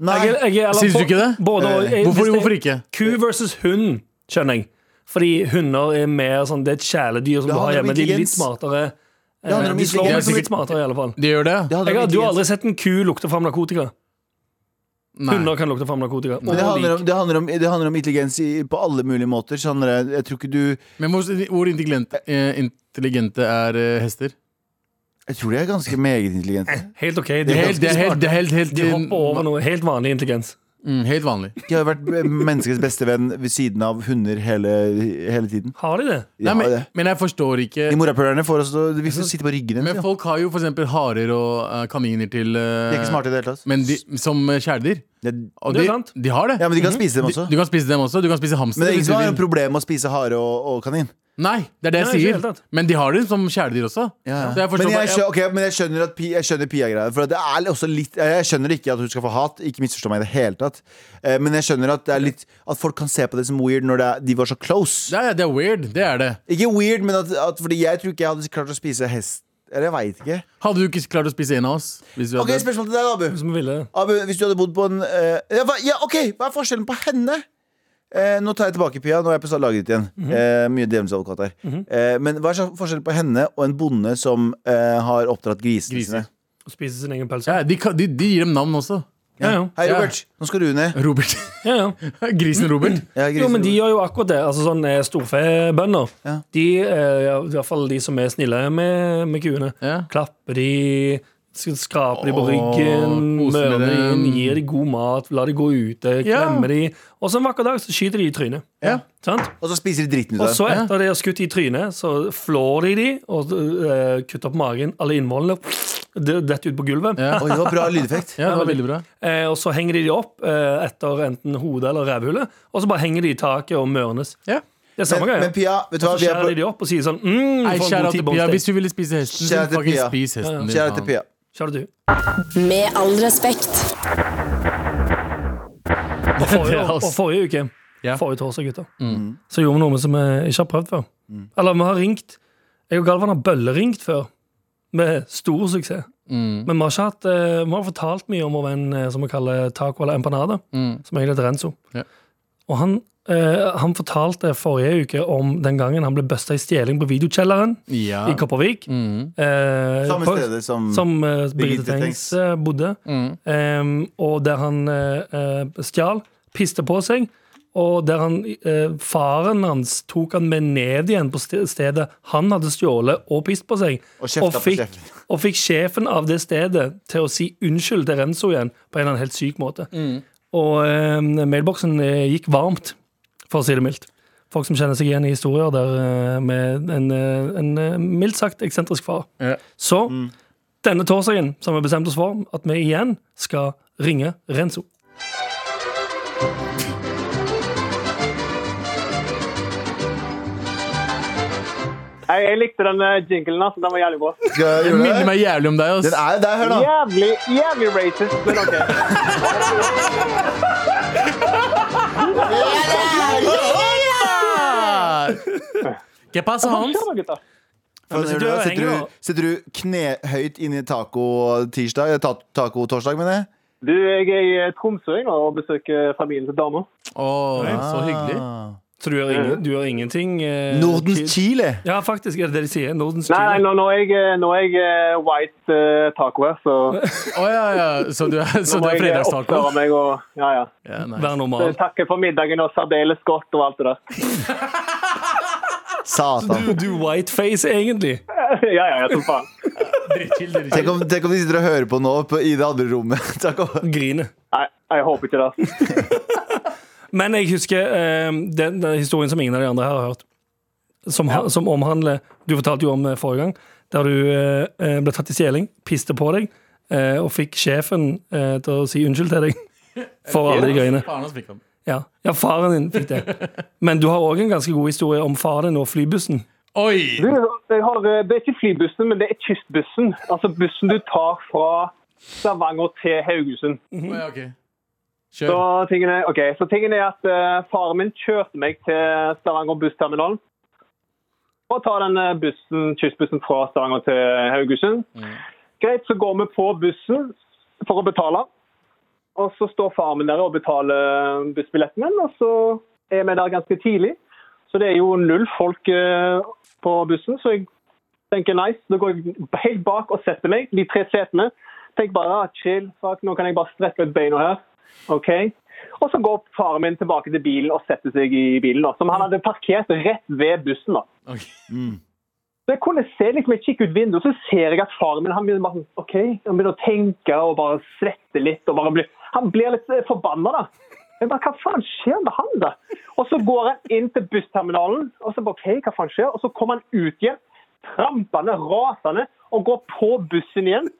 Speaker 4: Nei,
Speaker 2: Jeg, jeg, eller,
Speaker 3: Synes du ikke det?
Speaker 2: Både, og. jeg,
Speaker 3: Hvorfor,
Speaker 2: hvis det-
Speaker 3: hvorfor ikke?
Speaker 2: Ku versus hund, skjønner jeg. Fordi hunder er mer sånn Det er et kjæledyr som
Speaker 4: Det
Speaker 2: du har
Speaker 4: handler om
Speaker 2: hjemme. De er litt
Speaker 4: intelligens.
Speaker 2: smartere. Eh,
Speaker 4: handler om
Speaker 2: De slår meg
Speaker 4: intelligens.
Speaker 2: som litt smartere, i alle fall.
Speaker 3: De gjør det?
Speaker 4: det handler
Speaker 2: Jeg
Speaker 4: om
Speaker 2: har, du har
Speaker 4: intelligens.
Speaker 2: aldri sett en ku lukte fram narkotika.
Speaker 3: Nei.
Speaker 2: Hunder kan lukte fram narkotika.
Speaker 4: Men det
Speaker 2: Og
Speaker 4: handler,
Speaker 2: lik.
Speaker 4: om, det, handler om, det handler om intelligens i, på alle mulige måter. Så handler det, jeg tror ikke du
Speaker 3: Men hvor, hvor intelligente, eh, intelligente er eh, hester?
Speaker 4: Jeg tror de er ganske meget intelligente.
Speaker 2: Helt OK.
Speaker 3: Det
Speaker 2: De,
Speaker 3: er helt, det er helt, det er helt, helt,
Speaker 2: de hopper over noe helt vanlig intelligens.
Speaker 3: Mm, helt vanlig.
Speaker 4: De har jo vært eh, menneskets beste venn ved siden av hunder hele, hele tiden.
Speaker 2: Har de det?
Speaker 4: De
Speaker 3: Nei,
Speaker 4: har
Speaker 3: men,
Speaker 4: det.
Speaker 3: men jeg forstår ikke
Speaker 4: De morapulerne får oss til å Vi får sitte på ryggen
Speaker 3: Men
Speaker 4: deres. ja.
Speaker 3: folk har jo for eksempel harer og eh, kaniner til eh,
Speaker 4: De er ikke smarte i det hele tatt.
Speaker 3: Men de, som eh, kjæledyr.
Speaker 4: Det-
Speaker 3: Og
Speaker 2: Det er
Speaker 3: de,
Speaker 2: sant.
Speaker 3: de har det.
Speaker 4: Ja, men de kan spise dem
Speaker 3: Du,
Speaker 4: også.
Speaker 3: du kan spise dem også. Du kan spise hamster.
Speaker 4: Men det er ingen
Speaker 3: hvis du
Speaker 4: som har
Speaker 3: vil.
Speaker 4: noe problem med å spise hare og, og kanin.
Speaker 3: Nei, det er det jeg
Speaker 2: Nei, ikke i det hele
Speaker 3: sier.
Speaker 2: tatt.
Speaker 3: Men de har det som kjæledyr også.
Speaker 4: Ja.
Speaker 3: Så jeg forstår
Speaker 4: men, jeg,
Speaker 3: bare-
Speaker 4: skjø- ok, men jeg skjønner at Pi- jeg skjønner Pia-greia. For det er også litt Jeg skjønner ikke at hun skal få hat. Ikke misforstå meg i det hele tatt. Eh, Men jeg skjønner at, det er litt, at folk kan se på det som weird når det er, de var så close.
Speaker 3: Ja, ja, det er weird. Det er det.
Speaker 4: Ikke weird, men at, at fordi jeg tror ikke jeg hadde klart å spise hest. Eller jeg veit ikke.
Speaker 3: Hadde du ikke klart å spise en av oss? Hvis vi
Speaker 4: Ok,
Speaker 3: hadde...
Speaker 4: Spørsmål til deg, Abu.
Speaker 2: Som ville.
Speaker 4: Abu, Hvis du hadde bodd på en eh, ja, hva, ja, OK, hva er forskjellen på henne? Eh, nå tar jeg tilbake Pia. Nå er jeg på laget ditt igjen.
Speaker 2: Mhm.
Speaker 4: eh, mye djevelsadvokat her. eh, men hva er så- forskjellen på henne og en bonde som eh, har oppdratt grisene
Speaker 3: Griser.
Speaker 4: sine?
Speaker 2: Å spise sin egen pølse.
Speaker 3: ja, de, kan- de, de gir dem navn også.
Speaker 2: Ja, ja.
Speaker 4: Hei,
Speaker 3: Ja.
Speaker 4: Robert. Nå skal du ned.
Speaker 3: Robert. [LAUGHS]
Speaker 2: ja, ja.
Speaker 3: Grisen Robert.
Speaker 4: Ja,
Speaker 2: Jo, men
Speaker 4: griser-
Speaker 2: de gjør jo akkurat det. Altså sånn eh, Storfebønder.
Speaker 4: Ja.
Speaker 2: De, eh, ja, i hvert fall de som er snille med, med kuene,
Speaker 3: Ja.
Speaker 2: klapper de, sk- skraper de på
Speaker 3: Åh,
Speaker 2: ryggen,
Speaker 3: koser med
Speaker 2: mører de
Speaker 3: dem.
Speaker 2: inn, gir de god mat, lar de gå ute,
Speaker 3: Ja.
Speaker 2: klemmer de. Og så en vakker dag så skyter de i trynet.
Speaker 3: Ja.
Speaker 2: Sant?
Speaker 4: Og så spiser de dritten ut
Speaker 2: Og
Speaker 4: av
Speaker 2: så
Speaker 3: Ja.
Speaker 2: etter de har skutt i trynet, så flår de de og eh, kutter opp magen, alle innvollene, det detter ut på gulvet.
Speaker 3: Ja.
Speaker 4: den. Oi, det var bra
Speaker 2: [LAUGHS]
Speaker 4: lydeffekt.
Speaker 3: ja, det var veldig bra.
Speaker 2: Eh, og så henger de de opp eh, etter enten hodet eller rævhullet, og så bare henger de i taket og mørnes.
Speaker 3: Ja.
Speaker 2: Det er samme
Speaker 4: Men,
Speaker 2: greie.
Speaker 4: men Pia, vet du hva?
Speaker 2: Så
Speaker 4: Vi er
Speaker 2: skjærer
Speaker 4: på,
Speaker 2: de de opp og sier sånn mm,
Speaker 3: Nei,
Speaker 2: for en
Speaker 3: kjære
Speaker 2: god
Speaker 3: til
Speaker 2: tid
Speaker 3: Pia,
Speaker 2: bonsteak.
Speaker 3: hvis du ville spise hesten, så
Speaker 4: Kjære til
Speaker 3: fucking
Speaker 4: Pia.
Speaker 3: spis hesten din.
Speaker 4: kjære til Pia.
Speaker 2: Kjære til du.
Speaker 1: Med all respekt.
Speaker 2: Og forrige,
Speaker 3: Det er
Speaker 2: og
Speaker 3: oss.
Speaker 2: forrige uke,
Speaker 3: Ja.
Speaker 2: forrige torsdag, gutter,
Speaker 3: Mm.
Speaker 2: så gjorde vi noe som vi ikke har prøvd før. Eller vi har ringt Jeg og Galvan har bølleringt før. med stor suksess.
Speaker 3: Mm.
Speaker 2: Men vi har ikke hatt eh, Vi har fortalt mye om vår venn eh, som vi kaller taco eller empanada,
Speaker 3: Mm.
Speaker 2: som egentlig heter Renzo.
Speaker 3: Ja.
Speaker 2: Og han, eh, han fortalte forrige uke om den gangen han ble busta i stjeling på videokjelleren
Speaker 3: Ja.
Speaker 2: i Kopervik.
Speaker 3: Mm.
Speaker 2: Eh,
Speaker 4: Samme
Speaker 2: på-
Speaker 4: stedet som,
Speaker 2: Som eh, Birgitte
Speaker 4: Birgitte
Speaker 2: Tengs
Speaker 4: Tengs.
Speaker 2: eh, bodde.
Speaker 3: Mm.
Speaker 2: Ehm, og der han eh, eh, stjal, piste på seg, og der han, eh, faren hans tok han med ned igjen på ste- stedet han hadde stjålet og pist på seg.
Speaker 4: Og kjefta på
Speaker 2: fikk,
Speaker 4: sjefen.
Speaker 2: og fikk sjefen av det stedet til å si unnskyld til Renzo igjen, på en eller annen helt syk måte.
Speaker 4: Mm.
Speaker 2: Og eh, mailboksen eh, gikk varmt, for å si det mildt. Folk som kjenner seg igjen i historier der eh, med en, eh, en eh, mildt sagt eksentrisk far.
Speaker 3: Ja.
Speaker 2: Så
Speaker 3: Mm.
Speaker 2: denne torsdagen så har vi bestemt oss for at vi igjen skal ringe Renzo.
Speaker 5: Jeg, jeg likte den eh, jinglen, altså. Den var jævlig bra.
Speaker 4: Skal jeg
Speaker 3: Det
Speaker 4: gjøre
Speaker 3: minner
Speaker 4: det?
Speaker 3: meg jævlig om deg. ass.
Speaker 4: Den er jo der, her, da.
Speaker 5: Jævlig, jævlig racist, men OK.
Speaker 3: Hva passer, [LAUGHS] Hans?
Speaker 5: Kjør da, gutter.
Speaker 4: For,
Speaker 2: men sitter
Speaker 4: hører
Speaker 2: du
Speaker 4: du,
Speaker 2: og
Speaker 4: da? sitter,
Speaker 2: henger, da?
Speaker 4: du, sitter du knehøyt inn i taco-tirsdag? eh, ta- Taco-torsdag, mener jeg?
Speaker 5: Du, jeg er i eh, Tromsø jeg, nå, og besøker eh, familien til dama.
Speaker 3: Å, så hyggelig.
Speaker 4: Ah.
Speaker 2: Så du gjør, ingen, du gjør ingenting? Eh,
Speaker 4: Nordens Chile!
Speaker 2: Ja, faktisk. Er det det de sier? Nordens
Speaker 5: Nei, nei,
Speaker 2: Chile.
Speaker 5: nå, nå er jeg, eh, nå er jeg eh, white eh, taco her, så
Speaker 3: Å ja, ja. Så du er, [LAUGHS] så du
Speaker 5: nå må
Speaker 3: er
Speaker 5: jeg eh, oppføre
Speaker 3: fredagstaco?
Speaker 5: meg og Ja, ja.
Speaker 3: Ja, nice.
Speaker 2: Vær
Speaker 5: Så
Speaker 2: normal.
Speaker 5: jeg takker for middagen og særdeles godt og alt det der. [LAUGHS]
Speaker 2: Du,
Speaker 4: Satan.
Speaker 2: du whiteface, egentlig.
Speaker 5: ja, ja, ja, som faen.
Speaker 4: Tenk om, tenk om de sitter og hører på nå på, i det andre rommet. [LAUGHS] Taco.
Speaker 2: Griner.
Speaker 5: Nei, jeg håper ikke det. altså.
Speaker 2: Men jeg husker eh, den, den historien som ingen av de andre her har hørt. Som, ha- som omhandler Du fortalte jo om det forrige gang, der du eh, eh, ble tatt i stjeling, piste på deg eh, og fikk sjefen eh, til å si unnskyld til
Speaker 3: [LAUGHS]
Speaker 2: deg for alle de greiene.
Speaker 3: Faen, ass, fikk han.
Speaker 2: Ja, ja faren din fikk det.
Speaker 5: [LAUGHS]
Speaker 2: Men du har òg en ganske god historie om faren din og flybussen.
Speaker 3: Oi!
Speaker 5: Du, jeg har, eh, det er ikke flybussen, men det er kystbussen. Altså bussen du tar fra Stavanger til Haugesund.
Speaker 3: Å, ja, ok.
Speaker 5: Så
Speaker 3: Kjør.
Speaker 5: tingen er, ok, så tingen er at eh, faren min kjørte meg til Stavanger bussterminalen. For å ta den eh, bussen, kystbussen fra Stavanger til Haugesund. Greit, så går vi på bussen for å betale. Og så står faren min der og betaler bussbilletten min, og så er vi der ganske tidlig. Så det er jo null folk eh, på bussen, så jeg tenker nice. Da går jeg helt bak og setter meg, de tre setene. Tenker bare ah, chill, fuck, nå kan jeg bare strekke ut beina her. Ok. Og så går faren min tilbake til bilen og setter seg i bilen, da, som han hadde parkert rett ved bussen. da.
Speaker 3: Ok.
Speaker 5: Så jeg kunne se liksom, jeg kikker ut vinduet, så ser jeg at faren min han begynner, bare, sånn, ok, han begynner å tenke og bare svette litt. og bare blir, Han blir litt eh, forbanna, da. Jeg bare, Hva faen skjer med han, da? Og så går han inn til bussterminalen, og så bare, ok, hva faen skjer? Og så kommer han ut igjen, trampende, rasende, og går på bussen igjen.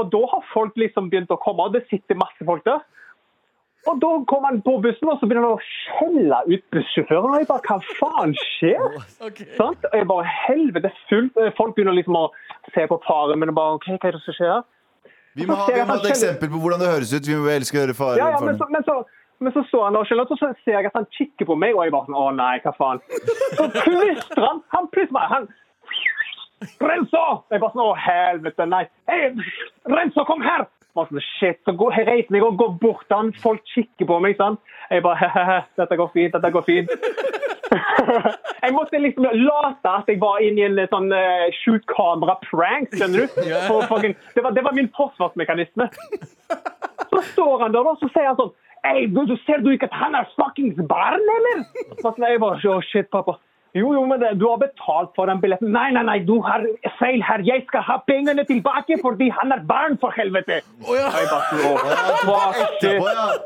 Speaker 5: Og da har folk liksom begynt å komme, og det sitter masse folk der. Og da kommer han på bussen, og så begynner han å skjelle ut bussjåføren. Og jeg bare, hva faen skjer? Sant? Og jeg bare, helvete, fullt. Folk begynner liksom å se på faren min og bare, ok, hva er det som skjer? her?
Speaker 4: Vi må ha, vi må ha et eksempel på hvordan det høres ut. Vi må elske å høre faren.
Speaker 5: Ja, ja, men så,
Speaker 4: faren.
Speaker 5: men så, men så står han der og skjønner, og så ser jeg at han kikker på meg, og jeg bare sånn, å nei, hva faen. Så plystrer han, han plystrer meg, han, Renzo! Jeg bare sånn, å helvete, nei. Hey, Renzo, kom her! Bare sånn, shit, så går, jeg reiser meg og går bort til han, folk kikker på meg, sant? Jeg bare, [LAUGHS] hehehe, dette går fint, dette går fint. [LAUGHS] Jeg måtte liksom late at jeg var inne i en sånn eh, skjult kamera-prank, skjønner du? For, for, det, var, det var min forsvarsmekanisme. Så står han der, og så sier han sånn Ei, du, du ser du ikke at han er fuckings barn, eller? Så sånn, jeg bare, «Å, shit, pappa. Jo, jo, men det- du har betalt for den billetten. Nei, nei, nei, du har feil her. Jeg skal ha pengene tilbake fordi han er barn, for helvete.
Speaker 3: Å, ja.
Speaker 5: Jeg bare, «Å, fuck, shit».
Speaker 4: Etterpå, ja.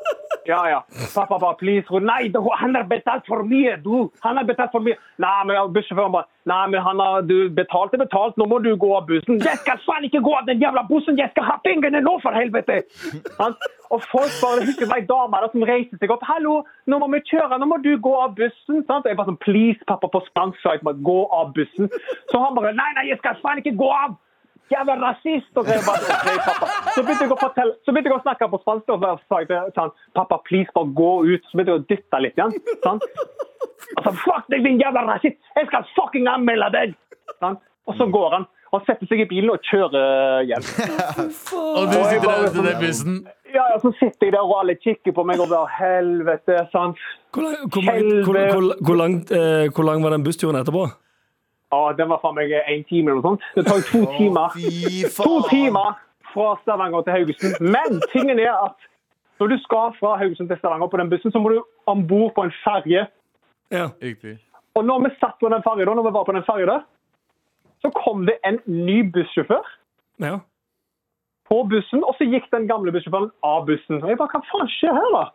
Speaker 5: Ja, ja. Pappa, pappa, please. Hun, Nei, du, han har betalt for mye, du. Han har betalt for mye. Nei, men jeg- bussjåføren bare Nei, men han har du betalt er betalt. Nå må du gå av bussen. Jeg skal faen ikke gå av den jævla bussen! Jeg skal ha pengene nå, for helvete! Han, og folk bare husker meg damer da, som reiser seg opp. 'Hallo, nå må vi kjøre. Nå må du gå av bussen.' Sant? Og jeg bare sånn 'Please, pappa, på spansk sa jeg bare 'gå av bussen'. Så han bare 'Nei, nei, jeg skal faen ikke gå av'. Jævla rasist! Og så, jeg bare, «Ok, pappa. så begynte jeg å fortelle, så begynte jeg å snakke på spansk. Og så sa jeg til han pappa, please, bare gå ut. Så begynte jeg å dytte litt. igjen, sant? Altså, fuck deg, din jævla rasist! Jeg skal fucking anmelde deg! Sant? Og så går han. Han setter seg i bilen og kjører hjem.
Speaker 3: Og du sitter der ute i den bussen.
Speaker 5: Ja, ja, Så sitter jeg der, og alle kikker på meg og bare Helvete, sant?
Speaker 2: Hvor, lang- hvor, mange- hvor, hvor, hvor, langt, eh, hvor lang var den bussturen etterpå?
Speaker 5: Ja, Den var faen meg én time eller noe sånt. Det tar jo to timer.
Speaker 4: Fy
Speaker 5: To
Speaker 4: faen!
Speaker 5: timer fra Stavanger til Haugesund. Men tingen er at når du skal fra Haugesund til Stavanger på den bussen, så må du om bord på en ferge.
Speaker 2: Ja.
Speaker 3: Riktig.
Speaker 5: Og når vi satt på den fergen da, når vi var på den fergen der, så kom det en ny bussjåfør
Speaker 2: ja.
Speaker 5: på bussen, og så gikk den gamle bussjåføren av bussen. Og jeg bare, hva faen skjer her da?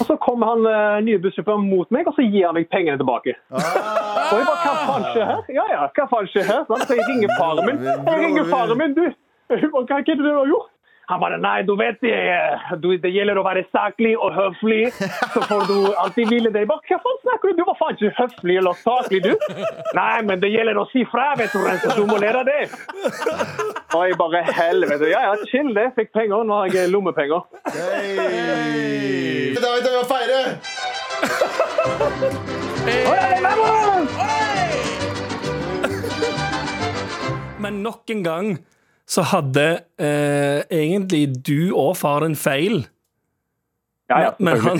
Speaker 5: Og så kom han eh, nye bussjåføren mot meg, og så gir han meg pengene tilbake. Og jeg bare, hva faen skjer her? Ja, ja, hva faen skjer her? Sånn, Så jeg ringer faren min. Jeg ringer faren min, du. Hva hva er det du har gjort? Han bare, nei, du vet det. eh, Du, det gjelder å være saklig og høflig, så får du alltid hvile deg. Jeg Bare, hva faen snakker du? Du var faen ikke høflig eller saklig, du. Nei, men det gjelder å si fra, vet du, Rense. Du må lære det. Og jeg bare, helvete. Ja, ja, chill det. Fikk penger, nå har jeg eh, lommepenger.
Speaker 4: Hey. Da vet jeg hva feire!
Speaker 2: Men nok en gang så hadde eh, egentlig du og faren feil.
Speaker 5: Ja, ja,
Speaker 2: Men han,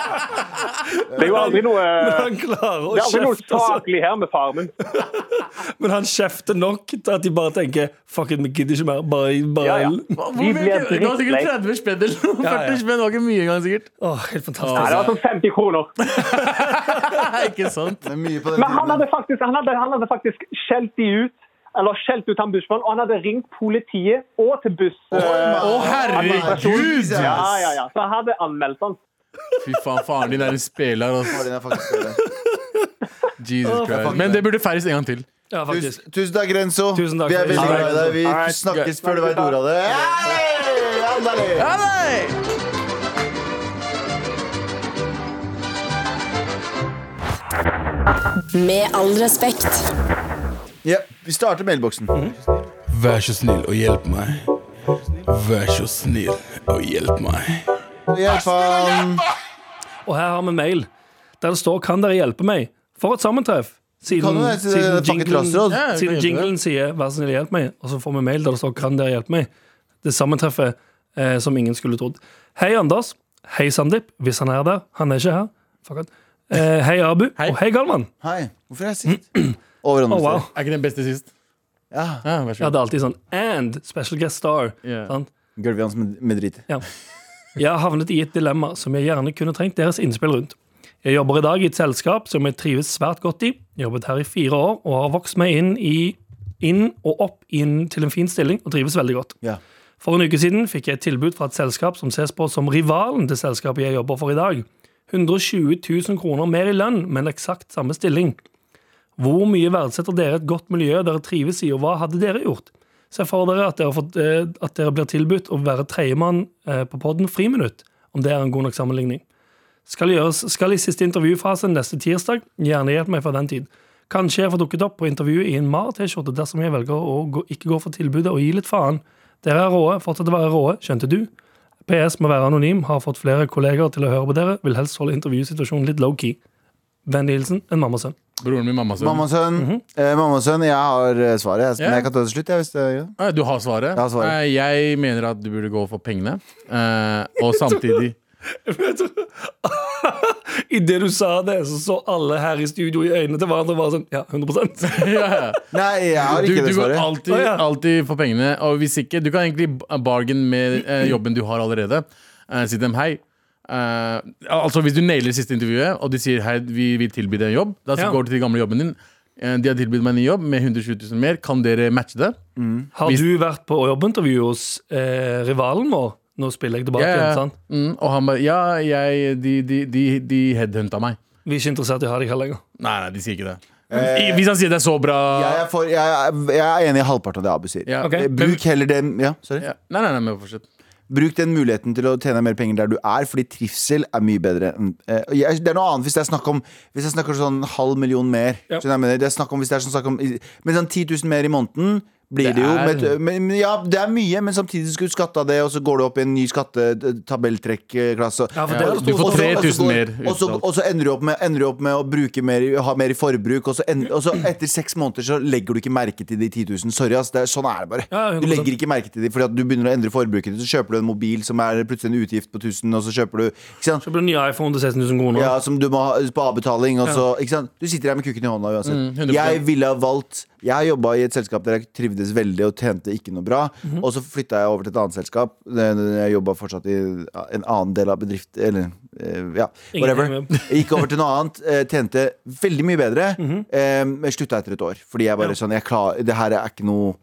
Speaker 2: [LAUGHS]
Speaker 5: det er jo aldri noe... eh,
Speaker 2: han klarer å
Speaker 5: Det er aldri noe
Speaker 2: kjefte. så-
Speaker 5: saklig her med faren min.
Speaker 2: Men han kjefter nok til at de bare tenker Fuck it, vi gidder ikke mer. Bare, bare
Speaker 5: Ja, ja.
Speaker 3: Hva- hvor
Speaker 5: Vi
Speaker 3: mye-
Speaker 5: ble
Speaker 3: Det var sikkert
Speaker 5: drittlei.
Speaker 3: 30 spenn eller noe.
Speaker 2: Ja, ja.
Speaker 3: 40 spenn var ikke mye engang, sikkert. [LAUGHS]
Speaker 2: Åh, Helt fantastisk.
Speaker 5: Nei, det var sånn 50 kroner.
Speaker 3: Nei, ikke sant?
Speaker 4: Det er mye på den
Speaker 5: Men han
Speaker 4: tiden.
Speaker 5: hadde faktisk, han hadde, han hadde faktisk skjelt de ut, eller skjelt ut han bussmannen, og han hadde ringt politiet og til buss... eh,
Speaker 4: Å,
Speaker 3: Å, herregud!
Speaker 5: Ja, ja, ja. Så han hadde anmeldt han.
Speaker 3: Fy faen, faren din er en speler. Altså.
Speaker 4: Faren din er faktisk bedre.
Speaker 3: Jesus Christ. Men det burde feires en gang til.
Speaker 2: Ja, faktisk.
Speaker 4: Tusen, tusen takk, Renzo.
Speaker 2: Tusen takk.
Speaker 4: Vi er veldig
Speaker 2: Tusen
Speaker 4: glad i
Speaker 2: takk.
Speaker 4: deg. Vi
Speaker 5: Alright.
Speaker 4: snakkes før du vet ordet av det. Hei! Andale!
Speaker 6: Med all respekt.
Speaker 4: Ja, vi starter mailboksen.
Speaker 2: Mm-hmm.
Speaker 7: Vær så snill og hjelp meg. Vær så snill og hjelp meg.
Speaker 4: Hjelp han.
Speaker 2: Og her har vi mail der det står 'Kan dere hjelpe meg?' For et sammentreff. Siden,
Speaker 4: Kan du det?
Speaker 2: siden,
Speaker 4: Fuck it,
Speaker 2: jinglen,
Speaker 4: Rasterod.
Speaker 3: Ja,
Speaker 2: siden
Speaker 3: jeg kan hjelpe
Speaker 2: jinglen sier 'Vær så snill, hjelp meg', og så får vi mail der det står 'Kan dere hjelpe meg?' Det sammentreffet eh, som ingen skulle trodd. Hei, Anders. Hei, Sandeep. Hvis han er der. Han er ikke her. Fuck it. Eh, hei, Abu. Og hei, Galvan.
Speaker 4: Hei. Hvorfor er jeg sist? [CLEARS THROAT] Over andre
Speaker 2: Oh, wow.
Speaker 4: steder.
Speaker 3: Er ikke den beste sist?
Speaker 4: Ja.
Speaker 3: Ja, vær så
Speaker 2: Ja,
Speaker 3: god.
Speaker 2: det er alltid sånn And special guest star.
Speaker 3: Ja.
Speaker 2: Sant?
Speaker 4: Gulvet hans med, med drit.
Speaker 2: Ja. Jeg har havnet i et dilemma som jeg gjerne kunne trengt deres innspill rundt. Jeg jobber i dag i et selskap som jeg trives svært godt i. Jeg har Jobbet her i fire år og har vokst meg inn, i, inn og opp inn til en fin stilling og trives veldig godt.
Speaker 4: Ja.
Speaker 2: For en uke siden fikk jeg et tilbud fra et selskap som ses på som rivalen til selskapet jeg jobber for i dag. 120 000 kroner mer i lønn, men eksakt samme stilling. Hvor mye verdsetter dere et godt miljø dere trives i, og hva hadde dere gjort? Se for dere at dere, har fått, eh, at dere blir tilbudt å være tredjemann eh, på podden friminutt, om det er en god nok sammenligning. Skal, gjøres, skal i siste intervjufase neste tirsdag, gjerne hjelp meg for den tid. Kanskje jeg får dukket opp på intervjuet i en Mar-T-skjorte dersom jeg velger å gå, ikke gå for tilbudet og gi litt faen. Dere er råe, fortsett å være råe, skjønte du? PS må være anonym, har fått flere kolleger til å høre på dere, vil helst holde intervjusituasjonen litt low-key. Vennlig hilsen en mammasønn. [LAUGHS]
Speaker 3: Broren min, mamma.
Speaker 4: Mamma og sønn, eh, mamma og sønn, jeg har eh, svaret. Jeg,
Speaker 3: Ja.
Speaker 4: Men jeg kan ta det til slutt. Jeg, hvis det, ja.
Speaker 3: Ah, Du har svaret.
Speaker 4: Jeg har svaret.
Speaker 3: Eh, Jeg mener at du burde gå for pengene. Eh,
Speaker 4: [LAUGHS]
Speaker 3: og samtidig
Speaker 2: Idet du sa det, så så alle her i studio i øynene til hverandre og var sånn Ja, 100
Speaker 3: ja, ja.
Speaker 4: Nei, jeg har
Speaker 3: Du,
Speaker 4: ikke
Speaker 3: du
Speaker 4: det
Speaker 3: går
Speaker 4: svaret.
Speaker 3: alltid,
Speaker 2: Å, ja.
Speaker 3: alltid for pengene. Og hvis ikke, du kan egentlig bargain med
Speaker 2: [CLEARS THROAT]
Speaker 3: eh, jobben du har allerede. Eh, si dem hei. Eh, altså Hvis du nailer siste intervjuet, og de sier hei, vi vil tilby deg en jobb, da så
Speaker 2: Ja.
Speaker 3: går du til gamle jobben din. Eh, de har tilbudt meg en ny jobb med 120 000 mer. Kan dere matche det?
Speaker 2: Har du vært på jobbintervju hos eh, rivalen vår? Nå spiller jeg tilbake.
Speaker 3: Ja, ja.
Speaker 2: igjen, sant?
Speaker 3: Mm, og han bare Ja, jeg, de, de, de, de headhunta meg.
Speaker 2: Vi er ikke interessert i å ha deg her lenger.
Speaker 3: Nei, nei, de sier ikke det. I- Hvis han sier det er så bra
Speaker 4: Eh. Jeg er, for, jeg, er- jeg er enig i halvparten av det Abu sier.
Speaker 3: Ja.
Speaker 2: Ok.
Speaker 4: Eh, Bruk heller den ja, sorry.
Speaker 3: ja. Nei, nei, nei, men fortsett.
Speaker 4: Bruk den muligheten til å tjene mer penger der du er, fordi trivsel er mye bedre. enn- eh, og jeg- Det er noe annet hvis jeg snakker om Hvis jeg snakker sånn halv million mer.
Speaker 2: Ja.
Speaker 4: Skjønner jeg hva jeg mener? Det er snakk om hvis det er sånn snakk om Men sånn 10 000 mer i måneden blir det, jo.
Speaker 3: er-
Speaker 4: Med, et- men, men ja, det er mye, men samtidig skulle du skatta det, og så går du opp i en ny skattetabelltrekkklasse.
Speaker 2: Ja, for det er
Speaker 4: Og
Speaker 2: det
Speaker 4: så-
Speaker 2: store
Speaker 4: og så- og så
Speaker 3: 3000
Speaker 4: går-
Speaker 3: mer
Speaker 4: Og så,
Speaker 3: utbetalt.
Speaker 4: og så ender, du opp med, ender du opp med å bruke mer, i- ha mer i forbruk, og så, end, og så etter seks måneder så legger du ikke merke til de 10 000. Sorry, ass. Det er, sånn er det bare.
Speaker 2: Ja, ja,
Speaker 4: du legger ikke merke til de fordi at du begynner å endre forbruket ditt. Så kjøper du en mobil som er plutselig en utgift på 1000, og så kjøper du ikke sant?
Speaker 2: Kjøper en ny iPhone til 16 000 kroner.
Speaker 4: Ja, som du må ha på avbetaling. Og så, ikke sant? Du sitter her med kukken i hånda uansett.
Speaker 2: Mm,
Speaker 3: 100%.
Speaker 4: jeg ville ha valgt Jeg har jobba i et selskap der jeg trivdes veldig og tjente ikke noe bra.
Speaker 2: Mhm.
Speaker 4: Og så flytta jeg over til et annet selskap. Det- Jeg jobba fortsatt i en annen del av bedrift Eller eh, ja, whatever.
Speaker 2: med.
Speaker 4: Jeg gikk over til noe annet, eh, tjente veldig mye bedre,
Speaker 2: Mhm.
Speaker 4: eh, men slutta etter et år. Fordi jeg bare sånn jeg klar, Det her er ikke noe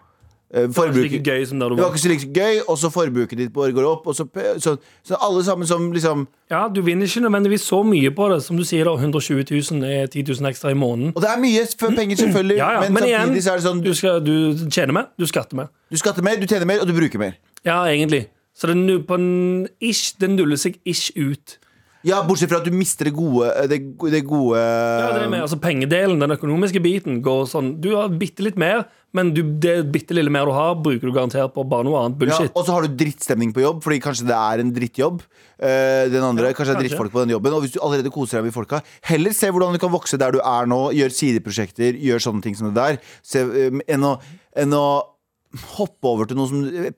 Speaker 4: eh,
Speaker 2: det er
Speaker 4: Forbruk
Speaker 2: ikke gøy som der du
Speaker 4: Det var
Speaker 2: var.
Speaker 4: ikke så like gøy, og så forbruket ditt bare går opp. Og så, pe- så, så alle sammen som liksom
Speaker 2: Ja, Du vinner ikke nødvendigvis så mye på det. Som du sier, da, 120 000 er 10 000 ekstra i måneden.
Speaker 4: Og det er mye for penger, selvfølgelig,
Speaker 2: Ja, ja.
Speaker 4: men,
Speaker 2: Men, igjen,
Speaker 4: samtidig så er det sånn
Speaker 2: du, skal, du tjener mer, du skatter mer.
Speaker 4: Du skatter mer, du tjener mer, og du bruker mer.
Speaker 2: Ja, egentlig. Så det, nu- på en ish, det nuller seg ish ut.
Speaker 4: Ja, Bortsett fra at du mister det gode, det, go- det gode
Speaker 2: Ja, det er med, altså Pengedelen, den økonomiske biten, går sånn Du har bitte litt mer, men du, det bitte lille mer du har, bruker du garantert på bare noe annet
Speaker 4: Ja,
Speaker 2: bullshit.
Speaker 4: og så har du drittstemning på jobb, fordi kanskje det er en drittjobb. Eh, den andre, Kanskje det er
Speaker 2: kanskje.
Speaker 4: drittfolk på den jobben. Og hvis du allerede koser deg med folka, heller se hvordan du kan vokse der du er nå. Gjør sideprosjekter, gjør sånne ting som det der. Se, eh, enn, å, enn å hoppe over til noe som eh,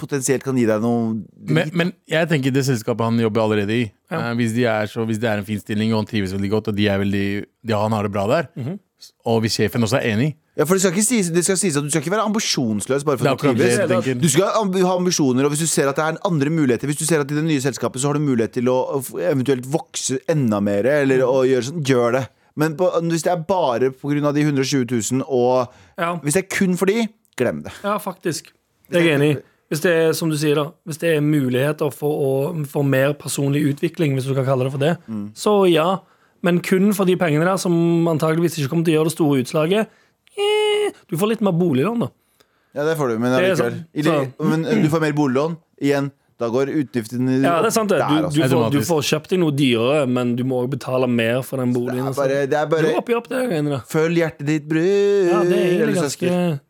Speaker 4: potensielt kan gi deg noe
Speaker 3: Men, men jeg tenker det selskapet han jobber allerede i eh, hvis, de er så, hvis det er en fin stilling, og han trives veldig godt, og de er veldig, de, han har det bra der, og hvis sjefen også er enig
Speaker 4: Ja, for det skal ikke sies, det skal sies at Du skal ikke være ambisjonsløs bare for
Speaker 3: Det er
Speaker 4: å
Speaker 3: akkurat
Speaker 4: trives.
Speaker 3: det jeg tenker.
Speaker 4: Du skal amb- ha ambisjoner, og hvis du ser at det er andre muligheter Hvis du ser at i det nye selskapet så har du mulighet til å f- eventuelt vokse enda mer, eller å gjøre sånn, gjør det. Men på, hvis det er bare pga. de 120 000, og
Speaker 2: Ja.
Speaker 4: hvis det er kun for de, glem det.
Speaker 2: Ja, faktisk. Det er jeg enig i. Hvis det er som du sier da, hvis det er muligheter for, å, for mer personlig utvikling, hvis du kan kalle det for det, så ja. Men kun for de pengene der, som antageligvis ikke kommer til å gjøre det store utslaget. Eh, du får litt mer boliglån, da.
Speaker 4: Ja, det får du, men,
Speaker 2: Det er
Speaker 4: allikevel.
Speaker 2: sant.
Speaker 4: I de- men eh, du får mer boliglån. Igjen, da går utgiftene dine
Speaker 2: Ja, det er sant det.
Speaker 4: opp der,
Speaker 2: Du, du,
Speaker 4: altså.
Speaker 2: får, du får kjøpt deg noe dyrere, men du må også betale mer for den
Speaker 4: Det
Speaker 2: boligen. altså.
Speaker 4: er bare, det er
Speaker 2: Du
Speaker 4: bare
Speaker 2: er oppi opp det greiene der.
Speaker 4: Følg hjertet ditt, bror.
Speaker 2: Ja, det er egentlig
Speaker 4: eller
Speaker 2: ganske
Speaker 4: søsken.
Speaker 2: det,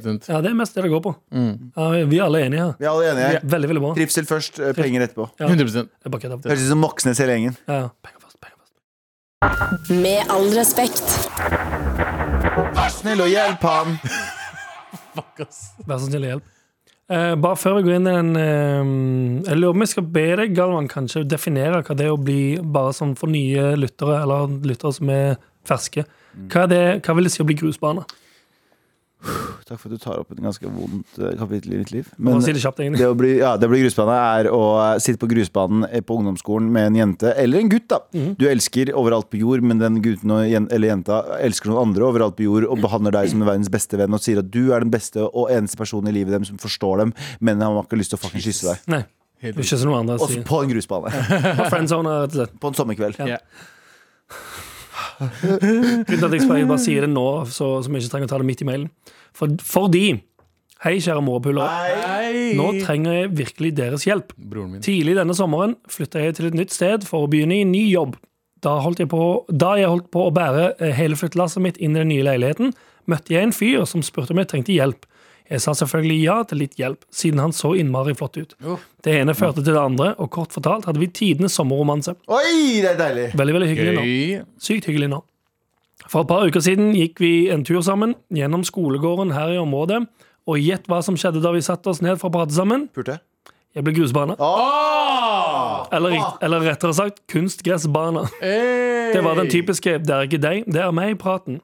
Speaker 3: 100%.
Speaker 2: Ja, det er mest det det går på.
Speaker 4: Mm.
Speaker 2: Ja, vi er alle enige her.
Speaker 4: Vi er alle enige.
Speaker 2: Veldig, veldig bra.
Speaker 4: Trivsel først, eh, penger etterpå.
Speaker 3: 100
Speaker 2: Jeg bare kødder.
Speaker 4: Høres ut som Moxnes hele gjengen.
Speaker 2: Ja, ja. Penger først, penger først.
Speaker 6: Med all respekt.
Speaker 4: Snill og hjelp ham!
Speaker 2: Vær så snill, hjelp. Eh, bare før vi går inn i den eh, Jeg lurer på om jeg skal be deg, Galvan, kanskje definere hva det er å bli bare sånn for nye lyttere, eller lyttere som er ferske. Hva, er det, hva vil det si å bli grusbane?
Speaker 4: Takk for at du tar opp et ganske vondt eh, kapittel i mitt liv.
Speaker 2: Bare
Speaker 4: Men
Speaker 2: si det kjapt, egentlig.
Speaker 4: det å bli, ja, det å bli grusbane er å eh, sitte på grusbanen eh, på ungdomsskolen med en jente eller en gutt. da Du elsker overalt på jord, men den gutten og jen, eller jenta elsker noen andre overalt på jord og behandler deg som verdens beste venn og sier at du er den beste og eneste personen i livet dem som forstår dem, men han har ikke lyst til å fucking kysse deg.
Speaker 2: Nei. Det er ikke som noen andre
Speaker 4: Også
Speaker 2: sier.
Speaker 4: på en grusbane.
Speaker 2: Bare friendzone, rett og slett.
Speaker 4: På en sommerkveld.
Speaker 2: Ja. Uten at jeg spør, jeg bare sier det nå, så, som jeg ikke trenger å ta det midt i mailen. For, fordi Hei, kjære morapulere.
Speaker 3: Hei!
Speaker 2: Nå trenger jeg virkelig deres hjelp.
Speaker 3: Broren min.
Speaker 2: Tidlig denne sommeren flytta jeg til et nytt sted for å begynne i ny jobb. Da, holdt jeg på, da jeg holdt på å bære eh, hele flyttelasset mitt inn i den nye leiligheten, møtte jeg en fyr som spurte om jeg trengte hjelp. Jeg sa selvfølgelig ja til litt hjelp, siden han så innmari flott ut. Det ene førte til det andre, og kort fortalt hadde vi tidenes sommerromanse.
Speaker 4: Oi, det er deilig!
Speaker 2: Veldig, veldig hyggelig. nå.
Speaker 3: Gøy.
Speaker 2: Sykt hyggelig nå. For et par uker siden gikk vi en tur sammen gjennom skolegården her i området, og gjett hva som skjedde da vi satte oss ned for å prate sammen?
Speaker 4: Pulte?
Speaker 2: Jeg ble grusbane. Eller, rikt- eller rettere sagt kunstgressbane.
Speaker 3: Hey!
Speaker 2: Det var den typiske 'det er ikke deg, det er meg'-praten.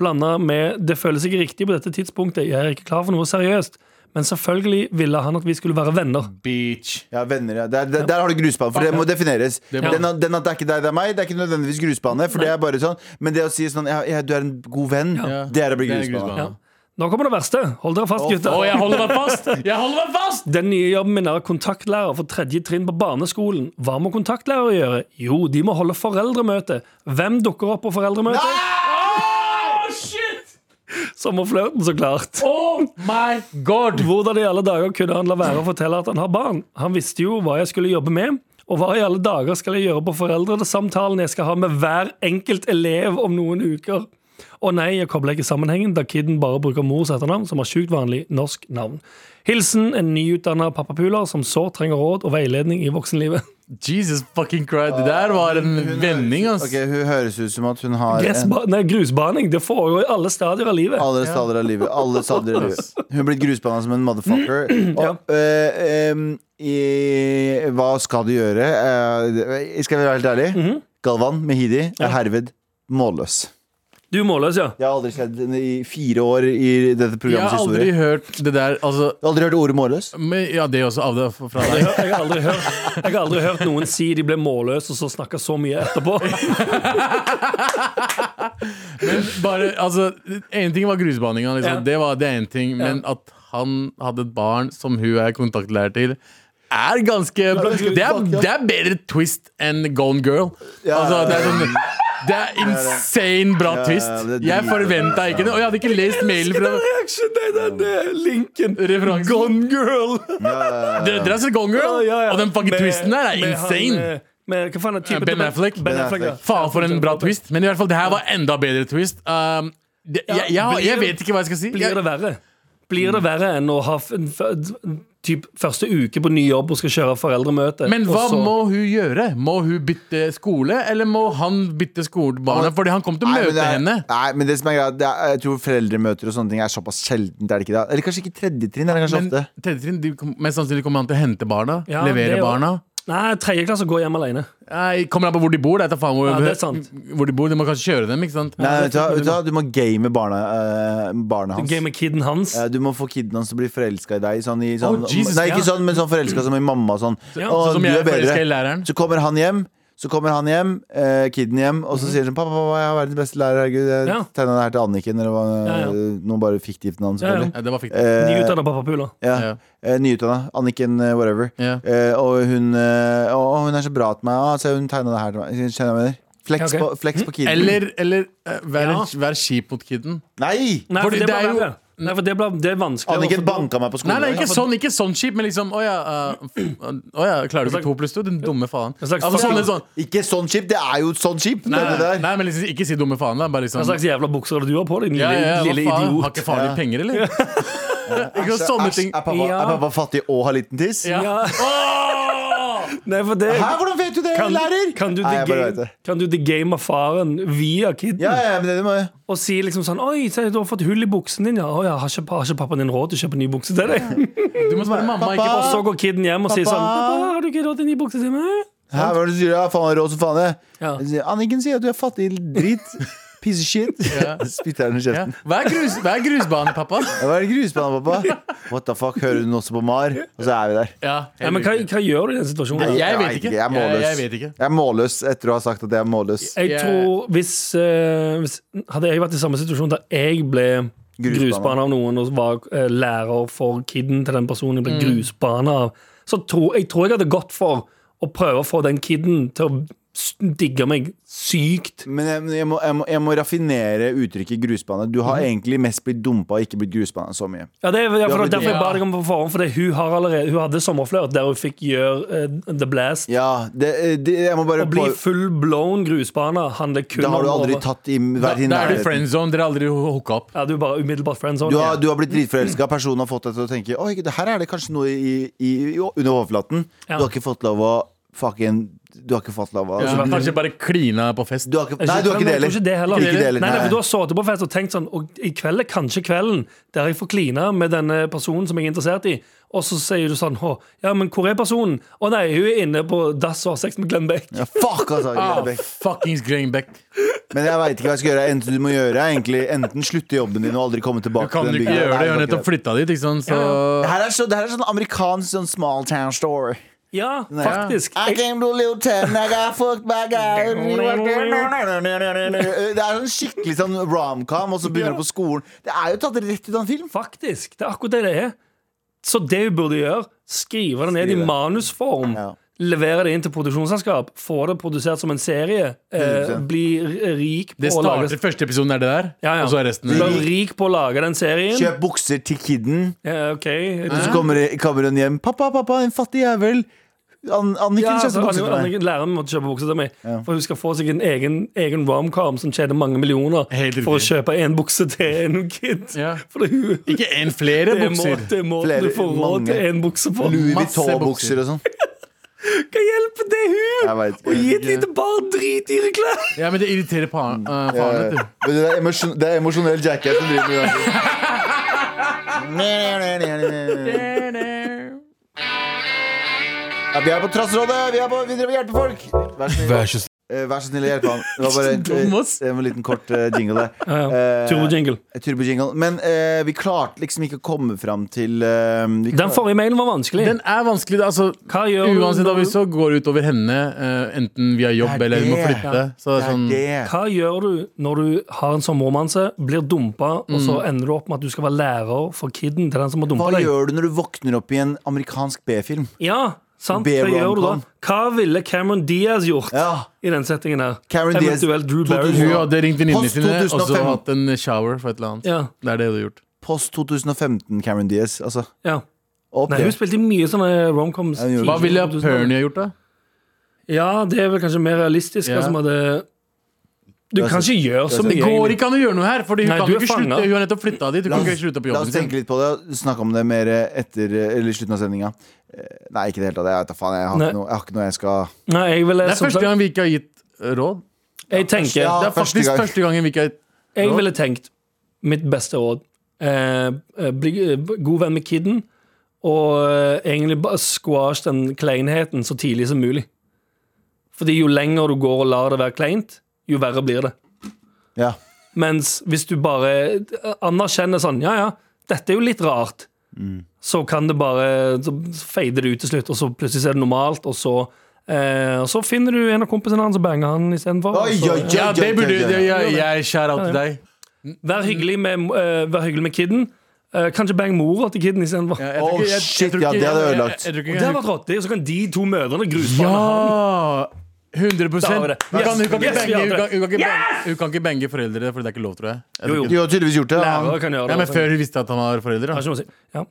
Speaker 2: Blanda med 'det føles ikke riktig på dette tidspunktet, jeg er ikke klar for noe seriøst'. Men selvfølgelig ville han at vi skulle være venner.
Speaker 3: Beach.
Speaker 4: Ja, venner, ja. Der, der, der har du grusbane, for det må defineres.
Speaker 3: må-
Speaker 4: Den, at- den at det er ikke deg, det er meg, det er ikke nødvendigvis grusbane. For det er bare sånn Men det å si sånn ja, ja, Du er en god venn, det er å bli
Speaker 3: Det er
Speaker 4: grusbane.
Speaker 3: grusbane.
Speaker 2: Ja. Nå kommer det verste. Hold dere fast, gutter.
Speaker 3: Å, jeg holder meg fast! Jeg holder meg fast!
Speaker 2: Den nye jobben min er kontaktlærer for tredje trinn på barneskolen. Hva må kontaktlærere gjøre? Jo, de må holde foreldremøte. Hvem dukker opp på foreldremøte?
Speaker 3: Oh, shit!
Speaker 2: Sommerflørten, så klart.
Speaker 3: Oh my god!
Speaker 2: Hvordan i alle dager kunne han la være å fortelle at han har barn? Han visste jo hva jeg skulle jobbe med. Og hva i alle dager skal jeg gjøre på foreldresamtalen jeg skal ha med hver enkelt elev om noen uker? Og nei, jeg kobler ikke sammenhengen da kiden bare bruker mors etternavn, som har sjukt vanlig norsk navn. Hilsen en nyutdanna pappapuler som sårt trenger råd og veiledning i voksenlivet.
Speaker 3: Jesus fucking Christ. Det der var en vending, ass.
Speaker 4: Ok, Hun høres ut som at hun har en,
Speaker 2: Gressba nei, grusbaning. Det foregår i alle stadier av livet.
Speaker 4: alle stader av livet. Alle stader av livet Hun blir grusbehandla som en
Speaker 3: [CLEARS THROAT]
Speaker 4: motherfucker. Og, eh, em, i, hva skal du gjøre? Eh, skal jeg være helt ærlig?
Speaker 3: Mhm.
Speaker 4: Galvan Mehidi er herved målløs.
Speaker 2: Du er målløs, ja.
Speaker 4: Jeg har aldri sett henne i fire år i dette
Speaker 3: Jeg
Speaker 4: programmets
Speaker 3: har aldri
Speaker 4: historie.
Speaker 3: hørt det der, altså
Speaker 4: Du har aldri hørt ordet [LAUGHS] målløs?
Speaker 3: men, Ja, det er også av det fra
Speaker 2: Jeg
Speaker 3: deg. [LAUGHS]
Speaker 2: har, jeg, har aldri hørt, jeg har aldri hørt noen si de ble målløse og så snakke så mye etterpå.
Speaker 3: Men bare, altså En ting var grusbaninga, liksom.
Speaker 2: Ja.
Speaker 3: det var det er en ting. Men at han hadde et barn som hun er kontaktlærer til, er ganske Det er, det er bedre twist enn Gone Girl.
Speaker 4: Ja,
Speaker 3: altså, det, er
Speaker 4: ja,
Speaker 3: sånn, det er insane bra
Speaker 4: Ja, ja,
Speaker 3: twist.
Speaker 4: det er
Speaker 3: Jeg
Speaker 4: dritbra.
Speaker 3: forventa ikke det, og jeg hadde ikke lest mailen fra
Speaker 2: Reaksjon, nei, nei, det er linken.
Speaker 3: referansen.
Speaker 2: Gone girl!
Speaker 3: Dere dere har sett Gone Girl? Og den fucking
Speaker 2: Med-
Speaker 3: twisten der er
Speaker 2: med
Speaker 3: insane.
Speaker 2: Han, eh, med, hva faen er typen?
Speaker 3: Ben
Speaker 2: til
Speaker 3: Affleck.
Speaker 2: Ben Affleck, ja.
Speaker 3: Faen for en bra twist. Men i hvert fall, det her var enda bedre twist. Um, det, jeg, jeg, jeg,
Speaker 2: blir-
Speaker 3: vet ikke hva jeg skal si.
Speaker 2: Blir det verre? Blir det verre enn å ha f- en f- en typ første uke på ny jobb og skal kjøre foreldremøte?
Speaker 3: Men
Speaker 2: og
Speaker 3: hva
Speaker 2: så-
Speaker 3: må hun gjøre? Må hun bytte skole, eller må han bytte skole til barna? Fordi han kom til å
Speaker 4: Nei, men
Speaker 3: møte
Speaker 4: det er-
Speaker 3: henne.
Speaker 4: Nei, men det som er greit, det er, jeg tror foreldremøter og sånne ting er såpass sjeldent. Er det ikke det? Eller kanskje ikke tredje trinn? Er det kanskje
Speaker 3: Men
Speaker 4: ofte?
Speaker 3: tredje trinn, de kom, mest sannsynlig kommer han til å hente barna.
Speaker 2: Ja,
Speaker 3: levere
Speaker 2: det er jo-
Speaker 3: barna.
Speaker 2: Nei, tredje klasse går hjem alene.
Speaker 3: Nei, kommer an på hvor de bor. Det er, faen hvor,
Speaker 2: Ja, det er sant.
Speaker 3: hvor de bor. De må kanskje kjøre dem, ikke sant?
Speaker 4: Nei, vet du, hva- vet du, hva? du må game barna, eh, barnet hans.
Speaker 2: Game of kiden hans.
Speaker 4: Ja, du må få kiden hans til å bli forelska i deg. Sånn, i, sånn,
Speaker 3: Oh, Jesus,
Speaker 4: nei, ikke
Speaker 2: ja.
Speaker 4: sånn, men sånn forelska som i mamma. Sånn.
Speaker 2: Ja,
Speaker 4: «Å,
Speaker 3: Sånn som
Speaker 4: du
Speaker 3: jeg
Speaker 4: er bedre».
Speaker 3: forelska i læreren.
Speaker 4: Så kommer han hjem, så kommer han hjem, eh, kiden hjem, og så sier han sånn Pappa, pappa, jeg har verdens beste lærer, herregud. Jeg
Speaker 2: Ja.
Speaker 4: tegna det her til Anniken, eller hva,
Speaker 2: Ja, ja.
Speaker 4: noe bare fiktivt navn,
Speaker 2: Ja, ja.
Speaker 4: selvfølgelig.
Speaker 3: Ja, det var fiktivt.
Speaker 4: Eh,
Speaker 2: Nyutdanna pappapuler.
Speaker 4: ja.
Speaker 3: Ja.
Speaker 4: Eh, Nyutdanna. Anniken eh, whatever.
Speaker 3: Ja.
Speaker 4: Eh, og hun, eh, å, å, hun er så bra til meg. Å, se, hun tegna det her til meg. Skjønner du hva jeg mener? Flex,
Speaker 2: Ja, ok.
Speaker 4: på, flex på kiden.
Speaker 3: Mm. Eller, eller eh, vær,
Speaker 2: Ja.
Speaker 3: vær kjip mot kiden.
Speaker 4: Nei!
Speaker 2: Nei,
Speaker 3: Fordi
Speaker 2: for det,
Speaker 3: det
Speaker 2: ble
Speaker 3: er jo-
Speaker 2: verre. Nei, for det, ble, det er vanskelig.
Speaker 4: Anniken banka meg på
Speaker 3: Nei,
Speaker 4: skolen.
Speaker 3: nei,
Speaker 4: Ja,
Speaker 3: ikke
Speaker 4: for-
Speaker 3: sånn ikke sånn kjip, men liksom Å ja, eh, f- å ja klarer du ikke to pluss to? Din dumme faen.
Speaker 2: En slags
Speaker 3: Altså, sånne,
Speaker 2: fucking-
Speaker 3: sånn,
Speaker 4: Ikke sånn skip, det er jo sånn skip!
Speaker 3: nei,
Speaker 4: det
Speaker 3: nei,
Speaker 4: der.
Speaker 3: nei, men liksom, ikke si dumme faen, da. Bare liksom
Speaker 2: Hva slags jævla bukser du har på deg, din
Speaker 3: Ja,
Speaker 2: lille,
Speaker 3: ja,
Speaker 2: lille
Speaker 3: hva faen? Har
Speaker 2: idiot?
Speaker 3: ikke faren din
Speaker 2: [LAUGHS]
Speaker 3: penger, eller? Ikke sant,
Speaker 4: Æsj, altså,
Speaker 3: sånne
Speaker 4: æsj,
Speaker 3: ting.
Speaker 4: Er pappa,
Speaker 2: Ja.
Speaker 4: er pappa fattig og har liten tiss?
Speaker 2: Ja. [LAUGHS] Nei, for det
Speaker 4: Hæ, hvordan vet du det,
Speaker 2: kan,
Speaker 4: lærer?
Speaker 2: kan du
Speaker 4: Nei, jeg bare
Speaker 2: de-game-
Speaker 4: vet det.
Speaker 2: kan du de-game av faren via kiden?
Speaker 4: Ja, ja, men det må jeg
Speaker 2: Og si liksom sånn Oi, se, du har fått hull i buksen din, ja. Å ja, har ikke, har ikke pappaen din råd til å kjøpe ny bukse til deg?
Speaker 3: Du må spørre mamma,
Speaker 2: Og
Speaker 3: ikke pappa.
Speaker 2: [LAUGHS] så går kiden hjem og sier sånn
Speaker 4: Pappa.
Speaker 2: Pappa, har du ikke råd til ny bukse til meg?
Speaker 4: Hæ, hva er det du sier? Ja, faen, jeg har råd som faen jeg.
Speaker 2: Ja.
Speaker 4: Jeg sier, Anniken sier at du er fattig drit Piece of shit [LAUGHS] Spytter henne i
Speaker 3: Ja.
Speaker 4: kjeften
Speaker 3: Hva er, grus, hva er grusbane, pappa?
Speaker 4: Hva er det grusbanen, pappa? What the fuck, hører du den også på Mar? Og så er vi der
Speaker 3: Ja,
Speaker 2: Ja, men hva, hva gjør du i den situasjonen?
Speaker 3: jeg vet ikke.
Speaker 4: Jeg er
Speaker 3: Jeg,
Speaker 4: målløs
Speaker 3: jeg vet ikke.
Speaker 4: Jeg er målløs etter å ha sagt at jeg er målløs
Speaker 2: Jeg
Speaker 3: Jeg-
Speaker 2: tror hvis, eh, hvis Hadde jeg vært i samme situasjon der jeg ble
Speaker 4: Grusbane.
Speaker 2: grusbane av noen og var eh, lærer for kiden til den personen jeg
Speaker 4: Mm.
Speaker 2: ble grusbane av, så tror jeg tror jeg hadde gått for å prøve å få den kiden til å s- digge meg sykt.
Speaker 4: Men jeg, men jeg, må, jeg, må, jeg må raffinere uttrykket grusbane Du har egentlig mest blitt dumpa og ikke blitt grusbane så mye
Speaker 2: Ja, det er ja, for det er derfor jeg
Speaker 3: Ja.
Speaker 2: ba deg om på forhånd, fordi hun, har allerede, hun hadde sommerflørt der hun fikk gjøre eh, The Blast.
Speaker 4: Ja, det, det, jeg må bare
Speaker 2: Å bli
Speaker 4: på-
Speaker 2: full blown grusbane handler kun
Speaker 4: Da har du
Speaker 2: om
Speaker 4: aldri
Speaker 2: å-
Speaker 4: tatt i
Speaker 3: Da,
Speaker 4: vært i
Speaker 3: da er du
Speaker 4: nærheten.
Speaker 3: friend zone. Dere har aldri hooka opp.
Speaker 2: Ja, du er bare umiddelbart friends
Speaker 4: Du har, du har blitt dritforelska, personen har fått deg til å tenke Oi, det her er det kanskje noe i, i, i, under overflaten.
Speaker 2: Ja.
Speaker 4: Du har ikke fått lov å fucking Du har ikke fått lov å
Speaker 3: Ja, kanskje bare klina på fest.
Speaker 4: du har ikke, Nei, du har ikke det
Speaker 2: Jeg
Speaker 4: heller.
Speaker 2: tror Ikke det heller.
Speaker 4: Ikke det heller,
Speaker 2: Nei, nei,
Speaker 4: nei.
Speaker 2: for du har sittet på fest og tenkt sånn og I kveld er kanskje kvelden der jeg får kline med denne personen som jeg er interessert i. Og så sier du sånn Hå, Ja, men hvor er personen? Å nei, hun er inne på dass og har sex med Glenn Beck.
Speaker 4: Ja, fuck, altså.
Speaker 3: Ah,
Speaker 4: Glenn Beck.
Speaker 3: fuckings Green Beck.
Speaker 4: Men jeg veit ikke hva jeg skal gjøre. Enten du må gjøre er egentlig Enten slutte i jobben din og aldri komme
Speaker 3: Du
Speaker 4: tilbake
Speaker 3: kan
Speaker 4: den
Speaker 3: ikke
Speaker 4: bygda.
Speaker 3: gjøre
Speaker 4: Nei,
Speaker 3: det. Jeg har
Speaker 4: kan ikke
Speaker 3: nettopp flytta dit, ikke sant. Så
Speaker 4: det. her er, så, det her er sånn amerikansk sånn small town store.
Speaker 2: Ja, faktisk.
Speaker 4: I
Speaker 2: Jeg,
Speaker 4: came to little town, I got fucked by a guy Det er sånn skikkelig sånn romcom, og så begynner du på skolen. Det er jo tatt rett ut av en film.
Speaker 2: faktisk. Det er akkurat det det er. Så det hun burde gjøre, skrive det ned
Speaker 4: Skrive.
Speaker 2: i manusform.
Speaker 4: Ja.
Speaker 2: Levere det inn til produksjonsselskap, få det produsert som en serie, eh,
Speaker 4: 100%.
Speaker 2: bli r- rik på
Speaker 3: det
Speaker 2: å lage
Speaker 3: starter Første episoden er det der,
Speaker 2: ja, ja.
Speaker 3: og så er resten
Speaker 2: Bli rik på å lage den serien.
Speaker 4: Kjøp bukser til kiden.
Speaker 2: Ja, ok.
Speaker 4: Og så kommer, kommer hun hjem. 'Pappa, pappa, en fattig jævel'. An Anniken
Speaker 2: Ja,
Speaker 4: kjøpte
Speaker 2: altså,
Speaker 4: bukser til meg.
Speaker 2: Anniken- Læreren måtte kjøpe bukser til meg.
Speaker 4: Ja.
Speaker 2: For hun skal få seg en egen, egen romcom som tjener mange millioner
Speaker 3: Helt riktig.
Speaker 2: for å kjøpe én bukse til en kid.
Speaker 3: Ja.
Speaker 2: For det, hun, det,
Speaker 3: Ikke én, flere
Speaker 2: er må,
Speaker 3: bukser.
Speaker 2: det er måten
Speaker 4: Flere-
Speaker 2: du får råd
Speaker 4: mange.
Speaker 2: til én bukse på.
Speaker 4: Louis
Speaker 3: Masse
Speaker 4: Vuitton-bukser og sånn.
Speaker 2: Hva hjelper det hun?
Speaker 4: Jeg vet ikke.
Speaker 2: Å gi et lite barn dritdyre klær?
Speaker 3: Ja, men det irriterer pa- eh, faren, vet du.
Speaker 4: Men det, er emosjon, det er emosjonell jackass som driver med det. Ja, vi er på Trassrådet! Vi er på Vi driver og hjelper folk! Vær så snill,
Speaker 7: Vær så snill.
Speaker 4: eh, vær så snill å hjelpe han. Det var bare en,
Speaker 3: Dum, ass.
Speaker 4: en liten kort eh, jingle der.
Speaker 2: Ja, ja.
Speaker 4: Eh,
Speaker 2: Turbojingle.
Speaker 4: Turbojingle. Men eh, vi klarte liksom ikke å komme fram til eh, vi
Speaker 2: Den
Speaker 4: klar-
Speaker 2: forrige mailen var vanskelig.
Speaker 3: Den er vanskelig. det- Altså,
Speaker 2: Hva gjør du
Speaker 3: uansett
Speaker 2: når-
Speaker 3: om vi så går det utover henne, eh, enten via jobb
Speaker 4: Det er
Speaker 3: eller vi må
Speaker 4: det.
Speaker 3: flytte. Så det er sånn,
Speaker 4: Det
Speaker 3: det
Speaker 4: er det.
Speaker 2: Hva gjør du når du har en sommerromanse, blir dumpa, og så ender du opp med at du skal være lærer for kiden til den som har dumpa
Speaker 4: Hva
Speaker 2: deg?
Speaker 4: gjør du når du våkner opp i en amerikansk B-film?
Speaker 2: Ja, sant,
Speaker 4: Be
Speaker 2: hva gjør du da?
Speaker 4: rom-com.
Speaker 2: Hva ville Cameron Diaz gjort
Speaker 4: Ja.
Speaker 2: i den settingen her?
Speaker 4: Cameron Diaz,
Speaker 2: Eventuelt Drew Barry.
Speaker 3: hun hadde ringt venninnene
Speaker 4: Post
Speaker 3: sine og så
Speaker 4: 2005.
Speaker 3: hatt en shower for et eller annet.
Speaker 2: Ja,
Speaker 3: Det er det du har gjort.
Speaker 4: Post 2015 Cameron Diaz, altså.
Speaker 2: ja.
Speaker 4: Opp
Speaker 2: Nei,
Speaker 4: det.
Speaker 2: hun spilte i mye sånne romcoms.
Speaker 4: Ja, hun gjorde det.
Speaker 3: Hva
Speaker 2: tidlig
Speaker 3: ville
Speaker 2: i 2000-tallet.
Speaker 3: Pernie ha gjort, da?
Speaker 2: Ja, det er vel kanskje mer realistisk.
Speaker 3: Ja.
Speaker 2: hva som hadde Du
Speaker 4: Det er
Speaker 2: kan ikke gjøre så mye.
Speaker 3: Det går
Speaker 2: egentlig.
Speaker 3: ikke an å gjøre noe her, for hun
Speaker 2: Nei,
Speaker 3: kan
Speaker 2: du er
Speaker 3: ikke
Speaker 2: fanget.
Speaker 3: slutte. Hun har nettopp flytta dit. Hun
Speaker 4: La
Speaker 3: kan
Speaker 4: oss-
Speaker 3: ikke slutte på
Speaker 4: La
Speaker 3: jobben
Speaker 4: oss
Speaker 3: sin.
Speaker 4: tenke litt på det og snakke om det mer etter Eller i slutten av sendinga. Nei, ikke i det hele tatt. Jeg, vet da faen, jeg, har
Speaker 2: Nei.
Speaker 4: ikke noe, jeg har ikke noe jeg skal
Speaker 2: Nei, jeg ville
Speaker 3: Det er
Speaker 2: som
Speaker 3: første
Speaker 2: sagt-
Speaker 3: gang vi ikke har gitt eh, råd.
Speaker 2: Jeg tenker
Speaker 4: Ja,
Speaker 3: Det er
Speaker 4: første
Speaker 3: faktisk
Speaker 4: gang.
Speaker 3: første gangen vi ikke har gitt
Speaker 2: Jeg
Speaker 3: Råd?
Speaker 2: ville tenkt mitt beste råd. Eh, eh, bli eh, god venn med kiden, og eh, egentlig bare squash den kleinheten så tidlig som mulig. Fordi jo lenger du går og lar det være kleint, jo verre blir det.
Speaker 4: Ja.
Speaker 2: Mens hvis du bare eh, anerkjenner sånn Ja, ja, dette er jo litt rart.
Speaker 4: Mm.
Speaker 2: Så kan det bare Så fader det ut til slutt, og så plutselig så er det normalt, og så eh, Og så finner du en av kompisene hans og banger han istedenfor.
Speaker 4: Oi,
Speaker 2: og så-
Speaker 4: oi, oi.
Speaker 3: Ja, det burde det- Jeg, jeg skjærer av til deg.
Speaker 2: Vær hyggelig med, eh, vær hyggelig med kidden. Eh, kanskje bang mora til kidden istedenfor.
Speaker 3: Ja,
Speaker 2: Ja,
Speaker 3: jeg tror
Speaker 4: Åh,
Speaker 3: ikke- jeg- jeg
Speaker 4: shit,
Speaker 3: tror
Speaker 4: ja,
Speaker 3: ikke-
Speaker 4: det hadde
Speaker 3: jeg- jeg-
Speaker 4: ødelagt.
Speaker 3: jeg tror
Speaker 2: det
Speaker 3: ikke jeg-
Speaker 2: hadde vært rått, det, og så kan de to mødrene gruse hverandre.
Speaker 3: Ja! 100
Speaker 2: Da har vi
Speaker 3: Hun
Speaker 2: det.
Speaker 3: kan, hun kan ikke
Speaker 2: Yes, vi har
Speaker 3: bange- hun
Speaker 2: det.
Speaker 3: kan- hun kan ikke bange- hun kan ikke bange foreldre, for det er ikke lov, tror jeg.
Speaker 2: Jo,
Speaker 3: jeg tror
Speaker 2: jo.
Speaker 3: ikke-
Speaker 4: Du har tydeligvis gjort det. ja.
Speaker 2: Lærere kan gjøre det.
Speaker 3: Ja, men
Speaker 2: altså.
Speaker 3: Før hun visste at han var forelder.
Speaker 2: Har
Speaker 3: Da.
Speaker 2: ikke noe å si. Ja.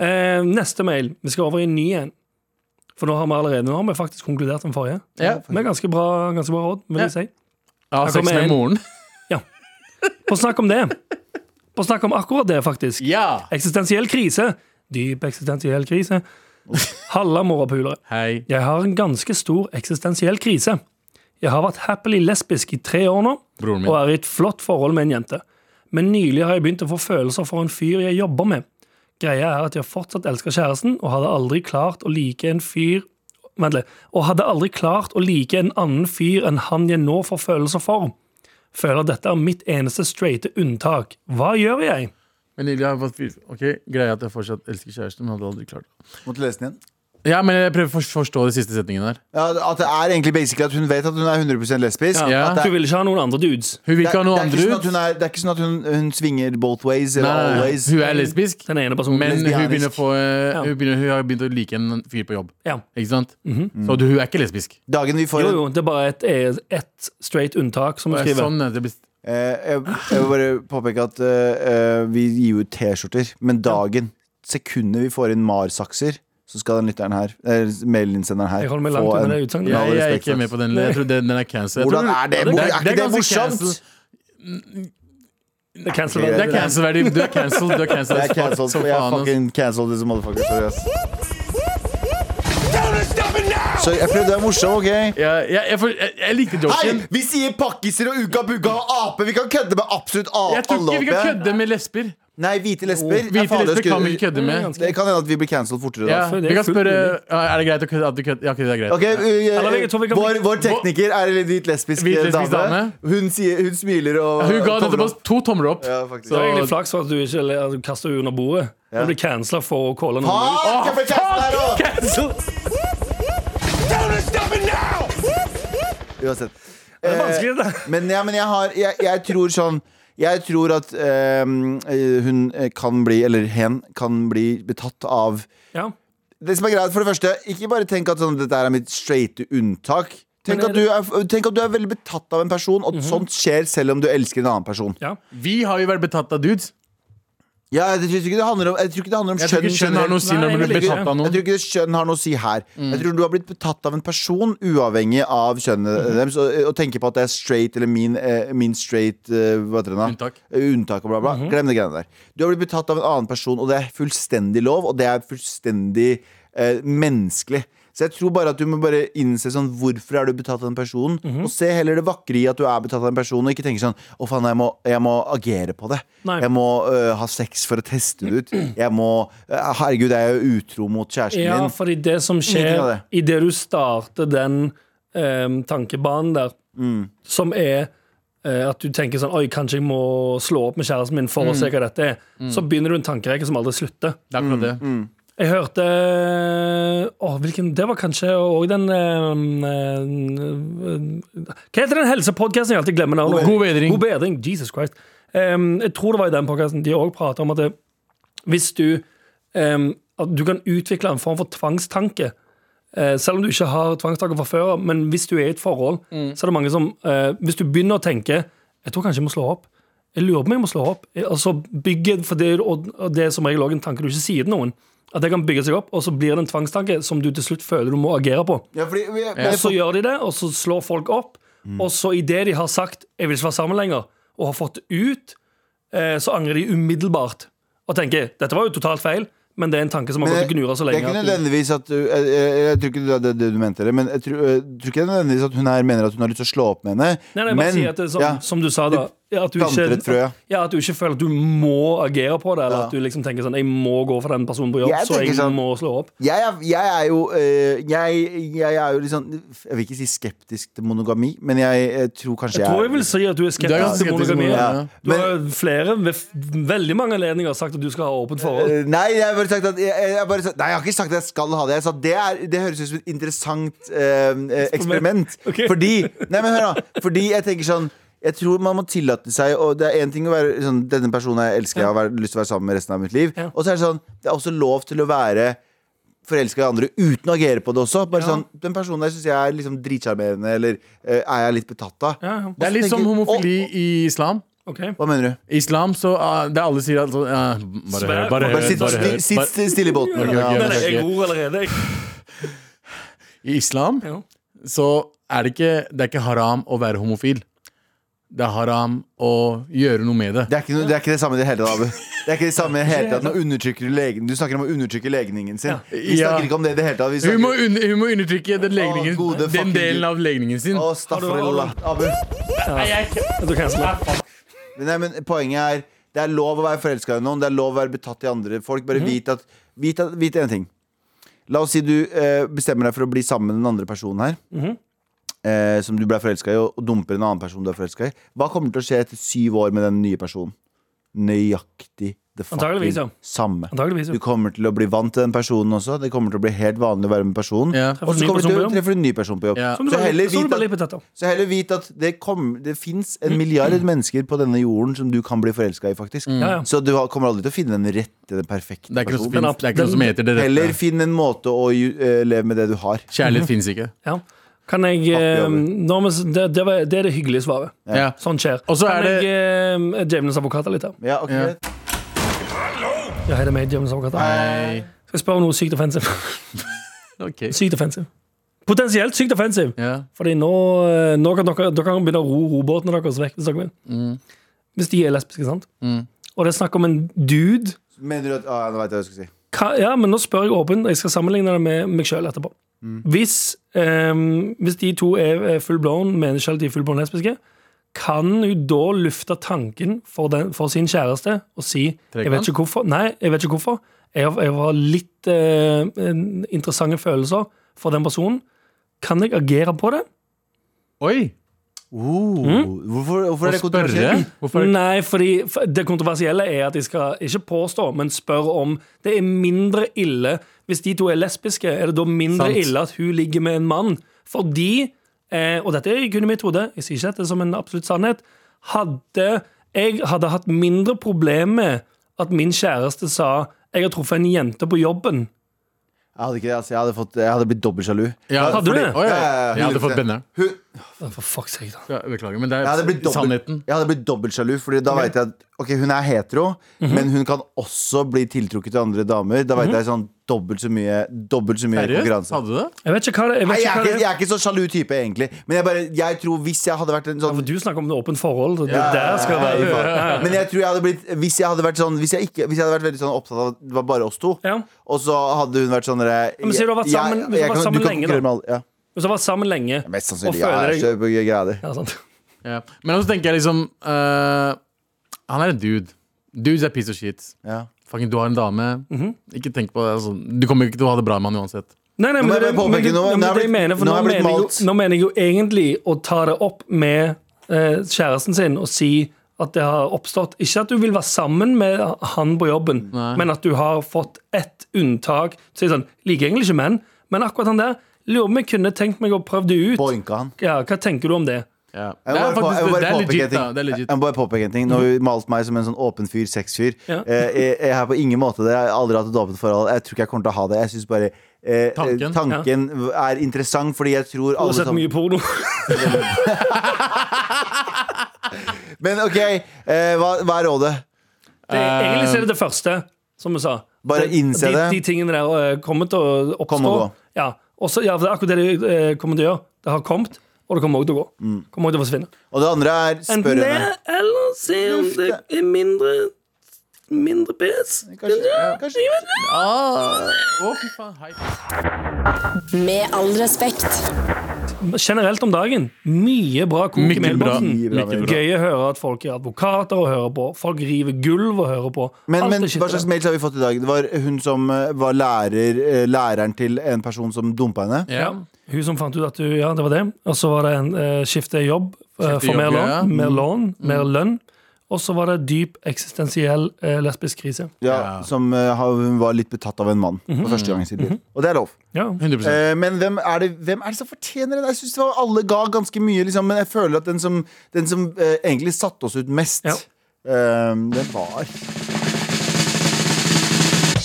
Speaker 2: Eh, neste mail. Vi skal over i en ny en. For nå har vi allerede Nå har vi faktisk konkludert den forrige.
Speaker 3: Ja.
Speaker 2: Med ganske bra, ganske bra råd, vil
Speaker 3: Ja.
Speaker 2: jeg si.
Speaker 3: Ja,
Speaker 2: Her
Speaker 3: sex
Speaker 2: kommer
Speaker 3: med
Speaker 2: en.
Speaker 3: moren.
Speaker 2: På snakk om det. På snakk om akkurat det, faktisk.
Speaker 3: Ja!
Speaker 2: Eksistensiell krise. Dyp eksistensiell krise. Halla, morapulere.
Speaker 3: Hei.
Speaker 2: Jeg har en ganske stor eksistensiell krise. Jeg har vært happily lesbisk i tre år nå,
Speaker 3: Broren min.
Speaker 2: og er i et flott forhold med en jente. Men nylig har jeg begynt å få følelser for en fyr jeg jobber med. Greia er at jeg fortsatt elsker kjæresten, og hadde aldri klart å like en fyr Vent litt. Og hadde aldri klart å like en annen fyr enn han jeg nå får følelser for. Føler dette er mitt eneste straighte unntak. Hva gjør jeg?
Speaker 3: Men Ilja har fått fyr. Ok, Greia at jeg fortsatt elsker kjæresten, men hadde aldri klart det.
Speaker 4: Måtte lese den igjen.
Speaker 3: Ja, men jeg prøver å for- forstå de siste setningene her.
Speaker 4: Ja, at det er egentlig basically at hun vet at hun er 100 lesbisk.
Speaker 3: Ja.
Speaker 4: At det,
Speaker 2: Du
Speaker 4: er,
Speaker 2: vil ikke ha noen andre dudes?
Speaker 3: Hun vil
Speaker 4: det,
Speaker 3: ikke ha
Speaker 4: er, det, er
Speaker 3: noe andre
Speaker 4: ikke sånn at
Speaker 3: ut.
Speaker 4: hun er, det er ikke sånn at hun, hun svinger both ways eller
Speaker 3: Nei, nei,
Speaker 4: always.
Speaker 3: nei. Hun er lesbisk,
Speaker 2: Den ene personen.
Speaker 3: men hun, begynner å få, eh,
Speaker 2: Mm. Ja.
Speaker 3: hun, begynner, hun har begynt å like en fyr på jobb.
Speaker 2: Ja.
Speaker 3: Ikke sant?
Speaker 4: Mhm.
Speaker 3: Så du, hun er ikke lesbisk.
Speaker 4: Dagen vi får
Speaker 2: Jo,
Speaker 4: en
Speaker 2: jo, det er bare et, et straight unntak som du
Speaker 3: Det er
Speaker 2: skriver.
Speaker 3: sånn at det blir
Speaker 4: Eh, jeg, jeg vil bare påpeke at eh, eh, vi gir ut T-skjorter, men dagen, sekundet vi får inn Mar-sakser, så skal den lytteren her, eh, mailinnsenderen her,
Speaker 2: Jeg holder meg langt unna
Speaker 4: få en
Speaker 2: det utsagnet.
Speaker 4: med all
Speaker 3: Jeg, jeg er
Speaker 4: respekt,
Speaker 3: ikke med
Speaker 4: ass.
Speaker 3: på den. Jeg tror den, den er cancel. Jeg
Speaker 4: Hvordan
Speaker 3: tror-
Speaker 4: er det?
Speaker 3: Ja,
Speaker 4: Er ikke det
Speaker 3: ganske
Speaker 4: morsomt?
Speaker 3: cancel.
Speaker 2: Det er cancel.
Speaker 3: Det er cancel-verdig. Du er cancel. Du er cancel.
Speaker 4: Jeg er cancelled,
Speaker 3: Som
Speaker 4: jeg er
Speaker 3: faen, altså. ass.
Speaker 4: fucking cancelled this motherfucker. Sorry, ass. Så jeg prøvde å være morsom, OK?
Speaker 3: Ja, jeg, jeg, får- jeg, jeg likte
Speaker 4: Hei,
Speaker 3: joken.
Speaker 4: vi sier pakkiser og uka bugga og ape! Vi kan kødde med absolutt alle
Speaker 3: Jeg tror ikke vi kan
Speaker 4: håper jeg.
Speaker 3: kødde med lesber.
Speaker 4: Nei, hvite lesber. er
Speaker 3: Hvite
Speaker 4: farlig å
Speaker 3: lesber kan
Speaker 4: skru-
Speaker 3: vi ikke kødde med.
Speaker 2: ganske-
Speaker 4: Det kan hende at vi blir cancelled fortere da.
Speaker 3: Ja,
Speaker 2: for det er
Speaker 3: vi kan
Speaker 2: fullt
Speaker 3: spørre
Speaker 2: mulig.
Speaker 3: ja, Er det greit å kødde? At du kødder? Ja, ok, det er greit.
Speaker 4: Ok, eh,
Speaker 2: Eller jeg tror vi kan-
Speaker 4: vår, vår tekniker er en litt hvit lesbisk, eh,
Speaker 3: Hvit lesbisk
Speaker 4: dame.
Speaker 3: dame.
Speaker 4: Hun, sier, hun smiler og
Speaker 3: Hun ga
Speaker 4: tommel
Speaker 3: nettopp oss
Speaker 4: opp.
Speaker 3: to tomler opp.
Speaker 4: Ja, faktisk.
Speaker 2: Det
Speaker 3: Så-
Speaker 2: var egentlig flaks for at du ikke eller, at du kastet henne under bordet. Du ble cancela for å calle noen
Speaker 4: Faen,
Speaker 2: ut.
Speaker 4: Ah, jeg ble cancelled her også! Uansett. Eh,
Speaker 2: Det er vanskelig, det.
Speaker 4: Men, ja, men jeg, har, jeg, jeg tror sånn Jeg tror at ehm, eh, hun eh, kan bli, eller hen, kan bli betatt av
Speaker 2: Ja.
Speaker 4: Det som er greit, for det første, ikke bare tenk at sånn, dette er mitt straighte unntak. Tenk
Speaker 2: Men er
Speaker 4: at, du er, tenk at du er veldig betatt av en
Speaker 3: Mhm.
Speaker 4: person, og sånt skjer selv om du elsker en annen person.
Speaker 2: ja.
Speaker 3: Vi har jo vært betatt av dudes.
Speaker 4: Ja, jeg tror ikke det handler om, jeg tror ikke det handler om
Speaker 3: Jeg tror ikke kjønn har noe å si når
Speaker 2: Nei,
Speaker 3: man blir
Speaker 2: jeg tror
Speaker 3: betatt
Speaker 2: ikke-
Speaker 3: av
Speaker 4: Jeg
Speaker 3: noen.
Speaker 4: tror ikke kjønn har noe å si her. Jeg tror du har blitt betatt av en person uavhengig av kjønnet
Speaker 3: Mhm.
Speaker 4: deres, og, og tenker på at det er straight eller min, eh, min straight eh, hva heter det nå?
Speaker 3: Unntak.
Speaker 4: Eh, Unntak og bla,
Speaker 2: Mhm.
Speaker 4: bla. Glem det greiene der. Du har blitt betatt av en annen person, og det er fullstendig lov, og det er fullstendig eh, menneskelig. Så jeg tror bare at du må bare innse sånn Hvorfor er du betatt av den personen?
Speaker 2: Mhm.
Speaker 4: Og se heller det vakre i at du er betatt av en person, og ikke tenke sånn Å, faen, jeg må, jeg må agere på det.
Speaker 2: Nei.
Speaker 4: Jeg må øh, ha sex for å teste det ut. Jeg må øh, Herregud, jeg er jo utro mot kjæresten
Speaker 2: Ja,
Speaker 4: min.
Speaker 2: fordi det som
Speaker 4: Ingenting av
Speaker 2: skjer
Speaker 4: det.
Speaker 2: idet du starter den em, tankebanen der,
Speaker 4: Mm.
Speaker 2: som er eh, at du tenker sånn Oi, kanskje jeg må slå opp med kjæresten min
Speaker 4: Mm.
Speaker 2: for å se hva dette er. Så begynner du en tankerekke som aldri slutter.
Speaker 3: Det er akkurat det.
Speaker 4: Mm,
Speaker 2: Jeg hørte eh, åh, hvilken, Det var kanskje òg den em, eh, Hva heter den helsepodkasten jeg alltid glemmer navnet?
Speaker 3: God bedring.
Speaker 2: God bedring, Jesus Christ. Em, jeg tror det var i den podkasten de òg prata om at det, hvis du em, At du kan utvikle en form for tvangstanke. eh, selv om du ikke har tvangstanker fra før av, men hvis du er i et forhold,
Speaker 4: Mm.
Speaker 2: så er det mange som eh, Hvis du begynner å tenke Jeg tror kanskje jeg må slå opp. Jeg lurer på om jeg må slå opp. Eh, Og så bygger for det, og og det er som regel også en tanke du ikke sier til noen. At det kan bygge seg opp, og så blir det en tvangstanke som du til slutt føler du må agere på.
Speaker 4: Ja, fordi, vi- jeg,
Speaker 2: Og så
Speaker 4: jeg,
Speaker 2: gjør de det, og så slår folk opp.
Speaker 4: Mm.
Speaker 2: Og så idet de har sagt 'jeg vil ikke være sammen lenger', og har fått det ut, eh, så angrer de umiddelbart. Og tenker 'dette var jo totalt feil', men det er en tanke som har
Speaker 4: Men
Speaker 2: gått
Speaker 4: jeg-
Speaker 2: og gnura så
Speaker 4: det er
Speaker 2: lenge.
Speaker 4: ikke
Speaker 2: at du-
Speaker 4: nødvendigvis at du, jeg, jeg, jeg tror ikke det er det, det du mente, eller, men jeg tror, jeg tror ikke det er nødvendigvis at hun her mener at hun har lyst til å slå opp med henne.
Speaker 2: Nei, nei, bare
Speaker 4: men
Speaker 2: si at det, er sånn- som,
Speaker 4: ja,
Speaker 2: som du sa, da. Ja, at, du
Speaker 4: planter et frø, ja.
Speaker 2: ikke, ja, at du ikke føler at du må agere på det, eller
Speaker 4: Ja.
Speaker 2: at du liksom tenker sånn 'jeg må gå for den personen på jobb,
Speaker 4: Jeg
Speaker 2: så jeg
Speaker 4: tenker sånn-
Speaker 2: må slå opp'.
Speaker 4: jeg, er, jeg er jo øh, jeg, jeg er jo liksom Jeg vil ikke si skeptisk til monogami, men jeg, eh, tror kanskje
Speaker 2: Jeg tror jeg vil si at du er
Speaker 3: Du er
Speaker 2: skeptisk
Speaker 3: ganske
Speaker 2: til
Speaker 3: skeptisk til
Speaker 2: monogami.
Speaker 3: monogami,
Speaker 4: ja.
Speaker 2: Du har flere, ved f- veldig mange anledninger sagt at du skal ha åpent forhold.
Speaker 4: Eh, Nei, jeg har bare sagt at jeg, jeg, har bare sagt, Nei, jeg har ikke sagt at jeg skal ha det. Jeg sa det, er, det høres ut som et interessant eh, eh, eksperiment.
Speaker 2: Ok.
Speaker 4: Fordi Nei, men hør da Fordi jeg tenker sånn jeg tror man må tillate seg Og det er en ting å være sånn, Denne personen jeg elsker Jeg har vært- lyst til å være sammen med resten av mitt liv
Speaker 2: Ja.
Speaker 4: Og så er det sånn Det er også lov til å være forelska i andre uten å agere på det også. Bare
Speaker 2: Ja.
Speaker 4: sånn, Den personen der syns jeg er liksom dritsjarmerende, eller eh, er jeg litt betatt av?
Speaker 2: Ja,
Speaker 3: Det er litt som homofili i islam.
Speaker 2: ok
Speaker 4: Hva mener du?
Speaker 3: I islam så uh, Det alle sier altså uh, Bare hør,
Speaker 2: Svær-
Speaker 3: bare
Speaker 4: Bare
Speaker 3: hør.
Speaker 4: sitt,
Speaker 3: Eh, Bare hør.
Speaker 4: sitt
Speaker 3: Bare,
Speaker 4: stille i båten.
Speaker 3: Ok, ok,
Speaker 4: Ja,
Speaker 2: Nei,
Speaker 4: men-
Speaker 2: nei,
Speaker 3: ok.
Speaker 2: jeg gror allerede. Jeg.
Speaker 3: I islam
Speaker 2: Ja.
Speaker 3: så er det ikke Det er ikke haram å være homofil. Det er haram å gjøre noe med det.
Speaker 4: Det er, ikke noe, det er ikke det samme i det hele tatt. Abu. Det er ikke det samme i det hele tatt Nå undertrykker du legen Du snakker om å undertrykke legningen sin. Vi
Speaker 3: Ja.
Speaker 4: snakker ikke om det i det hele tatt. Vi
Speaker 3: Hun må,
Speaker 4: snakker
Speaker 3: un hun må undertrykke den, legningen,
Speaker 4: Å, gode
Speaker 3: den
Speaker 4: fucking
Speaker 3: delen
Speaker 4: Gud.
Speaker 3: av legningen sin.
Speaker 4: Å, staffarullah. Abu.
Speaker 2: Du kan slå.
Speaker 4: Nei, men poenget er det er lov å være forelska i noen, det er lov å være betatt i andre folk. Bare vit at Vit, at, vit en ting. La oss si du eh, bestemmer deg for å bli sammen med den andre personen her. eh, som du ble forelska i, og, og dumper en annen person du er forelska i. Hva kommer til å skje etter syv år med den nye personen? Nøyaktig det
Speaker 2: Antageligvis, ja.
Speaker 4: fucking samme.
Speaker 2: Antageligvis, ja.
Speaker 4: Du kommer til å bli vant til den personen også. Det kommer til å bli helt vanlig å være med personen.
Speaker 3: Ja.
Speaker 4: Og så kommer du til å
Speaker 2: Treffer en ny person på jobb.
Speaker 4: treffe en ny person på jobb.
Speaker 3: Ja.
Speaker 2: Som du
Speaker 4: Så
Speaker 2: sa,
Speaker 4: heller
Speaker 2: så er du
Speaker 4: vit
Speaker 2: bare
Speaker 4: at,
Speaker 2: litt betatt av.
Speaker 4: så heller vit at det, kom, det fins en milliard mennesker på denne jorden som du kan bli forelska i, faktisk.
Speaker 2: Ja, ja.
Speaker 4: Så du har- kommer aldri til å finne den rette, den perfekte
Speaker 3: Mm. Det er ikke noe som,
Speaker 4: personen.
Speaker 2: Den
Speaker 3: finnes,
Speaker 2: app-
Speaker 3: det er ikke noe som heter det
Speaker 4: Heller
Speaker 3: rette.
Speaker 4: finn en måte å ju- eh, leve med det du har.
Speaker 3: Kjærlighet fins ikke.
Speaker 2: Ja. Kan jeg eh,
Speaker 4: Fattig,
Speaker 2: nå må s- det, det, var, det er det hyggelige svaret.
Speaker 3: Ja.
Speaker 2: Sånn skjer.
Speaker 3: Og så er
Speaker 2: kan
Speaker 3: det-
Speaker 2: jeg eh, djevelens advokat litt her?
Speaker 4: Ja, ok
Speaker 3: Ja.
Speaker 2: Ja, hei, det er meg, djevelens advokat. Skal jeg spørre om noe sykt offensive?
Speaker 3: Ok.
Speaker 2: sykt offensive. Potensielt sykt offensive.
Speaker 3: Ja.
Speaker 2: Fordi nå, eh, nå kan dere, dere kan begynne å ro robåtene deres vekk hvis dere vil. Hvis de er lesbiske, sant? Og det er snakk om en dude
Speaker 4: Mener du at ah, Nå veit jeg hva jeg skal si.
Speaker 2: Hva- Ja, men nå spør jeg åpent. Jeg skal sammenligne det med meg sjøl etterpå. Hvis, ehm, hvis de to er fullblown, mener selv at de er fullblown lesbiske, kan hun da lufte tanken for, den, for sin kjæreste og si jeg vet, ikke hvorfor, nei, 'Jeg vet ikke hvorfor. Jeg har, jeg har litt eh, en- interessante følelser for den personen. Kan jeg agere på det?'
Speaker 3: Oi!
Speaker 4: Oh, Hvorfor, hvorfor er
Speaker 3: Mm. Å
Speaker 4: det
Speaker 3: spørre
Speaker 4: kontroversielt?
Speaker 3: Hvorfor er det
Speaker 2: Nei, fordi for- det kontroversielle er at de skal ikke påstå, men spørre om det er mindre ille Hvis de to er lesbiske, er det da mindre
Speaker 3: Sant.
Speaker 2: ille at hun ligger med en mann? Fordi, eh, og dette er kun i mitt hode, jeg sier ikke dette som en absolutt sannhet, hadde jeg hadde hatt mindre problem med at min kjæreste sa jeg har truffet en jente på jobben,
Speaker 4: Jeg hadde ikke det, altså. Jeg hadde, fått, jeg hadde blitt dobbelt sjalu.
Speaker 3: Ja,
Speaker 2: Hadde du
Speaker 3: fordi-
Speaker 2: det?
Speaker 3: Å, ja, ja,
Speaker 4: Ja, ja,
Speaker 3: Jeg hadde
Speaker 4: hundre
Speaker 3: fått benne.
Speaker 4: Hun-
Speaker 2: For fuck's sake, da.
Speaker 3: Ja, Beklager, men det
Speaker 4: Jeg hadde
Speaker 3: er
Speaker 4: blitt dobbelt,
Speaker 3: sannheten.
Speaker 4: jeg hadde blitt dobbelt sjalu, Fordi da vet jeg at Ok, hun er hetero,
Speaker 2: Mhm.
Speaker 4: men hun kan også bli tiltrukket av andre damer. Da vet jeg sånn dobbelt så mye Dobbelt så mye
Speaker 3: Seriøst?
Speaker 4: konkurranse.
Speaker 3: Hadde du det?
Speaker 2: Jeg vet ikke hva det, jeg
Speaker 4: Nei,
Speaker 2: vet ikke
Speaker 4: jeg, er
Speaker 2: hva
Speaker 4: ikke, jeg
Speaker 2: det er.
Speaker 4: er ikke så sjalu type, egentlig. Men jeg, bare, jeg tror hvis jeg hadde vært en
Speaker 2: Ja,
Speaker 4: sånn
Speaker 2: for Du snakker om det åpent forhold. og Det
Speaker 4: Ja,
Speaker 2: der skal
Speaker 4: ja,
Speaker 2: være
Speaker 4: ja, ja. Men jeg tror jeg hadde blitt Hvis jeg hadde vært sånn Hvis jeg, ikke, hvis jeg hadde vært veldig sånn opptatt av at det var bare oss to,
Speaker 2: Ja.
Speaker 4: og så hadde hun vært sånn derre
Speaker 2: men sier du har vært sammen- hvis du har vært sammen lenge, da.
Speaker 4: Ja.
Speaker 2: Hvis du har vært sammen lenge
Speaker 4: Mest
Speaker 2: og
Speaker 4: sannsynlig. Ja,
Speaker 2: føler
Speaker 4: jeg
Speaker 2: deg
Speaker 4: kjører på greia di.
Speaker 2: ja, sant.
Speaker 3: Ja. Men så tenker jeg liksom eh, Han er en dude. Dudes er piece of shit.
Speaker 4: Ja.
Speaker 3: Fucking, du har en dame.
Speaker 4: Mhm.
Speaker 3: Ikke tenk på det. Altså. Du kommer ikke til å ha det bra med han uansett.
Speaker 2: Nei, nei,
Speaker 4: Nå
Speaker 2: men
Speaker 4: må jeg
Speaker 2: det,
Speaker 4: bare
Speaker 2: men det,
Speaker 4: påpeke noe.
Speaker 2: men
Speaker 4: Nå
Speaker 2: det
Speaker 4: har jeg
Speaker 2: jeg
Speaker 4: blitt-
Speaker 2: mener, for
Speaker 4: nå
Speaker 2: nå,
Speaker 4: har jeg blitt
Speaker 2: mener jeg,
Speaker 4: malt.
Speaker 2: jo- nå mener jeg jo egentlig å ta det opp med eh, kjæresten sin og si at det har oppstått Ikke at du vil være sammen med han på jobben, men at du har fått ett unntak. Så jeg sånn, Liker egentlig ikke menn, men akkurat han der lurer om jeg kunne tenkt meg å prøve det ut.
Speaker 4: Boinka han.
Speaker 2: Ja, Hva tenker du om det?
Speaker 3: Ja.
Speaker 4: Jeg
Speaker 3: Det
Speaker 4: må bare
Speaker 3: er
Speaker 4: på- jeg
Speaker 3: faktisk
Speaker 4: må
Speaker 3: det
Speaker 4: bare påpeke
Speaker 3: er
Speaker 4: en
Speaker 3: legit. Da.
Speaker 4: ting.
Speaker 3: Det er legit. Mhm.
Speaker 4: Jeg må bare påpeke en ting. Nå har vi malt meg som en sånn åpen fyr, sexfyr.
Speaker 2: Ja.
Speaker 4: Eh, jeg, jeg er på ingen måte det. Jeg har aldri hatt et åpent forhold. Jeg tror ikke jeg kommer til å ha det. Jeg synes bare eh,
Speaker 3: Tanken,
Speaker 4: tanken, er interessant, fordi jeg tror
Speaker 2: Du har
Speaker 4: alle
Speaker 2: sett
Speaker 4: sammen-
Speaker 2: mye porno.
Speaker 4: Men OK, eh, hva, hva er rådet?
Speaker 2: Det, egentlig så er det det første, som du sa.
Speaker 4: Eh, Bare innse
Speaker 2: de,
Speaker 4: det.
Speaker 2: De tingene der eh, kommer til å
Speaker 4: Kom
Speaker 2: oppstå.
Speaker 4: og gå.
Speaker 2: ja. Også, ja, for det er akkurat det de eh, kommer til å gjøre. Det har kommet, og det kommer også til å gå. Kommer også til å forsvinne.
Speaker 4: Og det andre er Mm. spør
Speaker 2: Enten det,
Speaker 4: henne.
Speaker 2: eller se om det er mindre Mindre pes.
Speaker 4: Kanskje, kanskje.
Speaker 3: Ah. Å, fy faen. Hei.
Speaker 6: Med all respekt.
Speaker 2: Generelt om dagen. Mye bra kok i
Speaker 3: Mye bra.
Speaker 2: mailboksen.
Speaker 4: Mye bra,
Speaker 3: Mye bra.
Speaker 2: Gøy å høre at folk er advokater og hører på. Folk river gulv og hører på.
Speaker 4: Men,
Speaker 2: Alt
Speaker 4: men
Speaker 2: det
Speaker 4: hva
Speaker 2: shitet
Speaker 4: slags
Speaker 2: der.
Speaker 4: mails har vi fått i dag? Det var hun som eh, var lærer, eh, læreren til en person som dumpa henne.
Speaker 3: Ja.
Speaker 2: Hun som fant ut at du, ja, det var det. Og så var det en eh, skifte i jobb eh,
Speaker 3: Skifte i
Speaker 2: for mer
Speaker 3: jobb,
Speaker 2: lån,
Speaker 3: ja. Mm.
Speaker 2: mer lån, mer lønn. Og så var det dyp eksistensiell eh, lesbisk krise.
Speaker 4: Ja,
Speaker 3: Ja. Mhm.
Speaker 4: Som eh, har- hun var litt betatt av en mann for første gang i sitt liv. Og det er lov.
Speaker 2: Ja.
Speaker 3: 100
Speaker 4: Eh, men hvem er, det, hvem er det som fortjener den? Jeg synes det var Alle ga ganske mye, liksom, men jeg føler at den som, den som eh, egentlig satte oss ut mest,
Speaker 2: Ja.
Speaker 4: eh, den var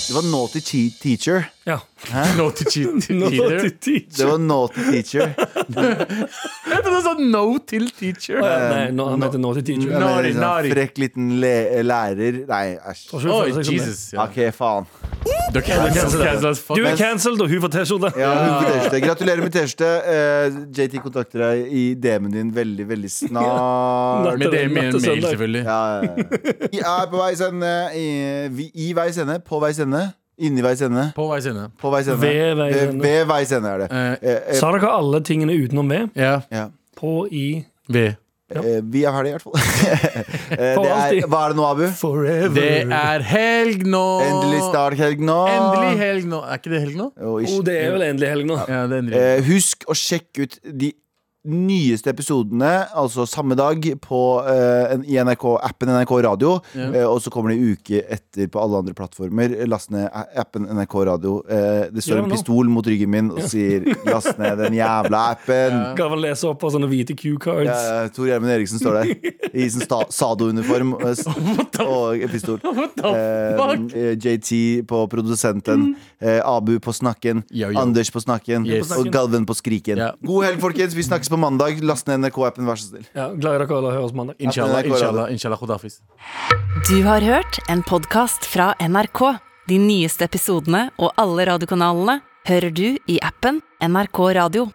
Speaker 4: Det var Naughty Che- Teacher.
Speaker 3: [LAUGHS]
Speaker 2: ja.
Speaker 4: Eh,
Speaker 3: No to
Speaker 4: [LAUGHS]
Speaker 3: cheat [LAUGHS] teacher.
Speaker 4: Det var Naughty Teacher.
Speaker 3: Jeg trodde du sa sånn no til teacher.
Speaker 2: Å, ja, nei, nå, han heter Naughty Teacher.
Speaker 4: Jeg mener,
Speaker 3: Naughty,
Speaker 4: liksom,
Speaker 3: naughty.
Speaker 4: Frekk liten le lærer. Nei, æsj.
Speaker 2: Tror ikke hun
Speaker 3: Oi,
Speaker 2: føler seg som det.
Speaker 3: Jesus. Ja.
Speaker 4: sånn, OK, faen.
Speaker 3: Du er cancelled, cancelled as fuck.
Speaker 2: Du er cancelled, og hun får T-skjorte.
Speaker 4: Ja, hun får T-skjorte. Gratulerer med T-skjorte. Eh, JT kontakter deg i DM-en din veldig, veldig snart.
Speaker 3: Med det med en
Speaker 2: Natt til
Speaker 3: mail,
Speaker 2: søndag.
Speaker 3: selvfølgelig.
Speaker 4: Ja, ja, ja. I er på vei sende I, vi- i vei sende, på vei sende Inni vei sende,
Speaker 3: På vei sende.
Speaker 4: på vei sende
Speaker 2: Ved vei
Speaker 4: Eh,
Speaker 2: sende.
Speaker 4: Ved vei sende er det
Speaker 3: Eh,
Speaker 4: Eh, eh,
Speaker 2: Sa dere alle tingene utenom V?
Speaker 3: ja.
Speaker 4: ja.
Speaker 2: På i
Speaker 3: V.
Speaker 2: Ja.
Speaker 4: Eh, Vi er ferdige i hvert fall [LAUGHS] Eh,
Speaker 2: For
Speaker 4: det
Speaker 2: alltid.
Speaker 4: er, Hva er det nå, Abu?
Speaker 2: Forever.
Speaker 3: Det er helg nå!
Speaker 4: Endelig starthelg nå
Speaker 3: Endelig helg nå. Er ikke det helg nå?
Speaker 4: Og
Speaker 2: oh,
Speaker 4: ikke-
Speaker 2: det er vel endelig helg nå.
Speaker 3: Ja, det er endelig.
Speaker 4: Eh, Husk å sjekke ut de nyeste episodene Altså samme dag på, eh, en- I NRK-appen NRK Radio eh, Og så kommer det en uke etter På alle andre plattformer Last ned a- appen NRK Radio eh, Det står
Speaker 2: Gjør
Speaker 4: en
Speaker 2: det nå.
Speaker 4: pistol mot ryggen min Og sier last ned den jævla appen
Speaker 2: Skal vel lese opp av sånne hvite Q-cards.
Speaker 4: Ja, Tor Gjermund Eriksen står der i sin sta- Sado-uniform eh, s- og pistol. Eh, JT på produsenten, eh, Abu på snakken,
Speaker 3: Yo, yo.
Speaker 4: Anders på snakken
Speaker 3: Yes.
Speaker 4: og Galven på skriken.
Speaker 3: Ja.
Speaker 4: God helg, folkens. Vi snakkes på mandag. Last ned NRK-appen, vær så snill.
Speaker 2: Ja, glad i dere alle. Høres mandag.
Speaker 3: Inshallah,
Speaker 4: At det er
Speaker 3: inshallah, inshallah, khudafis.
Speaker 1: Du har hørt en podkast fra NRK. De nyeste episodene og alle radiokanalene hører du i appen NRK Radio.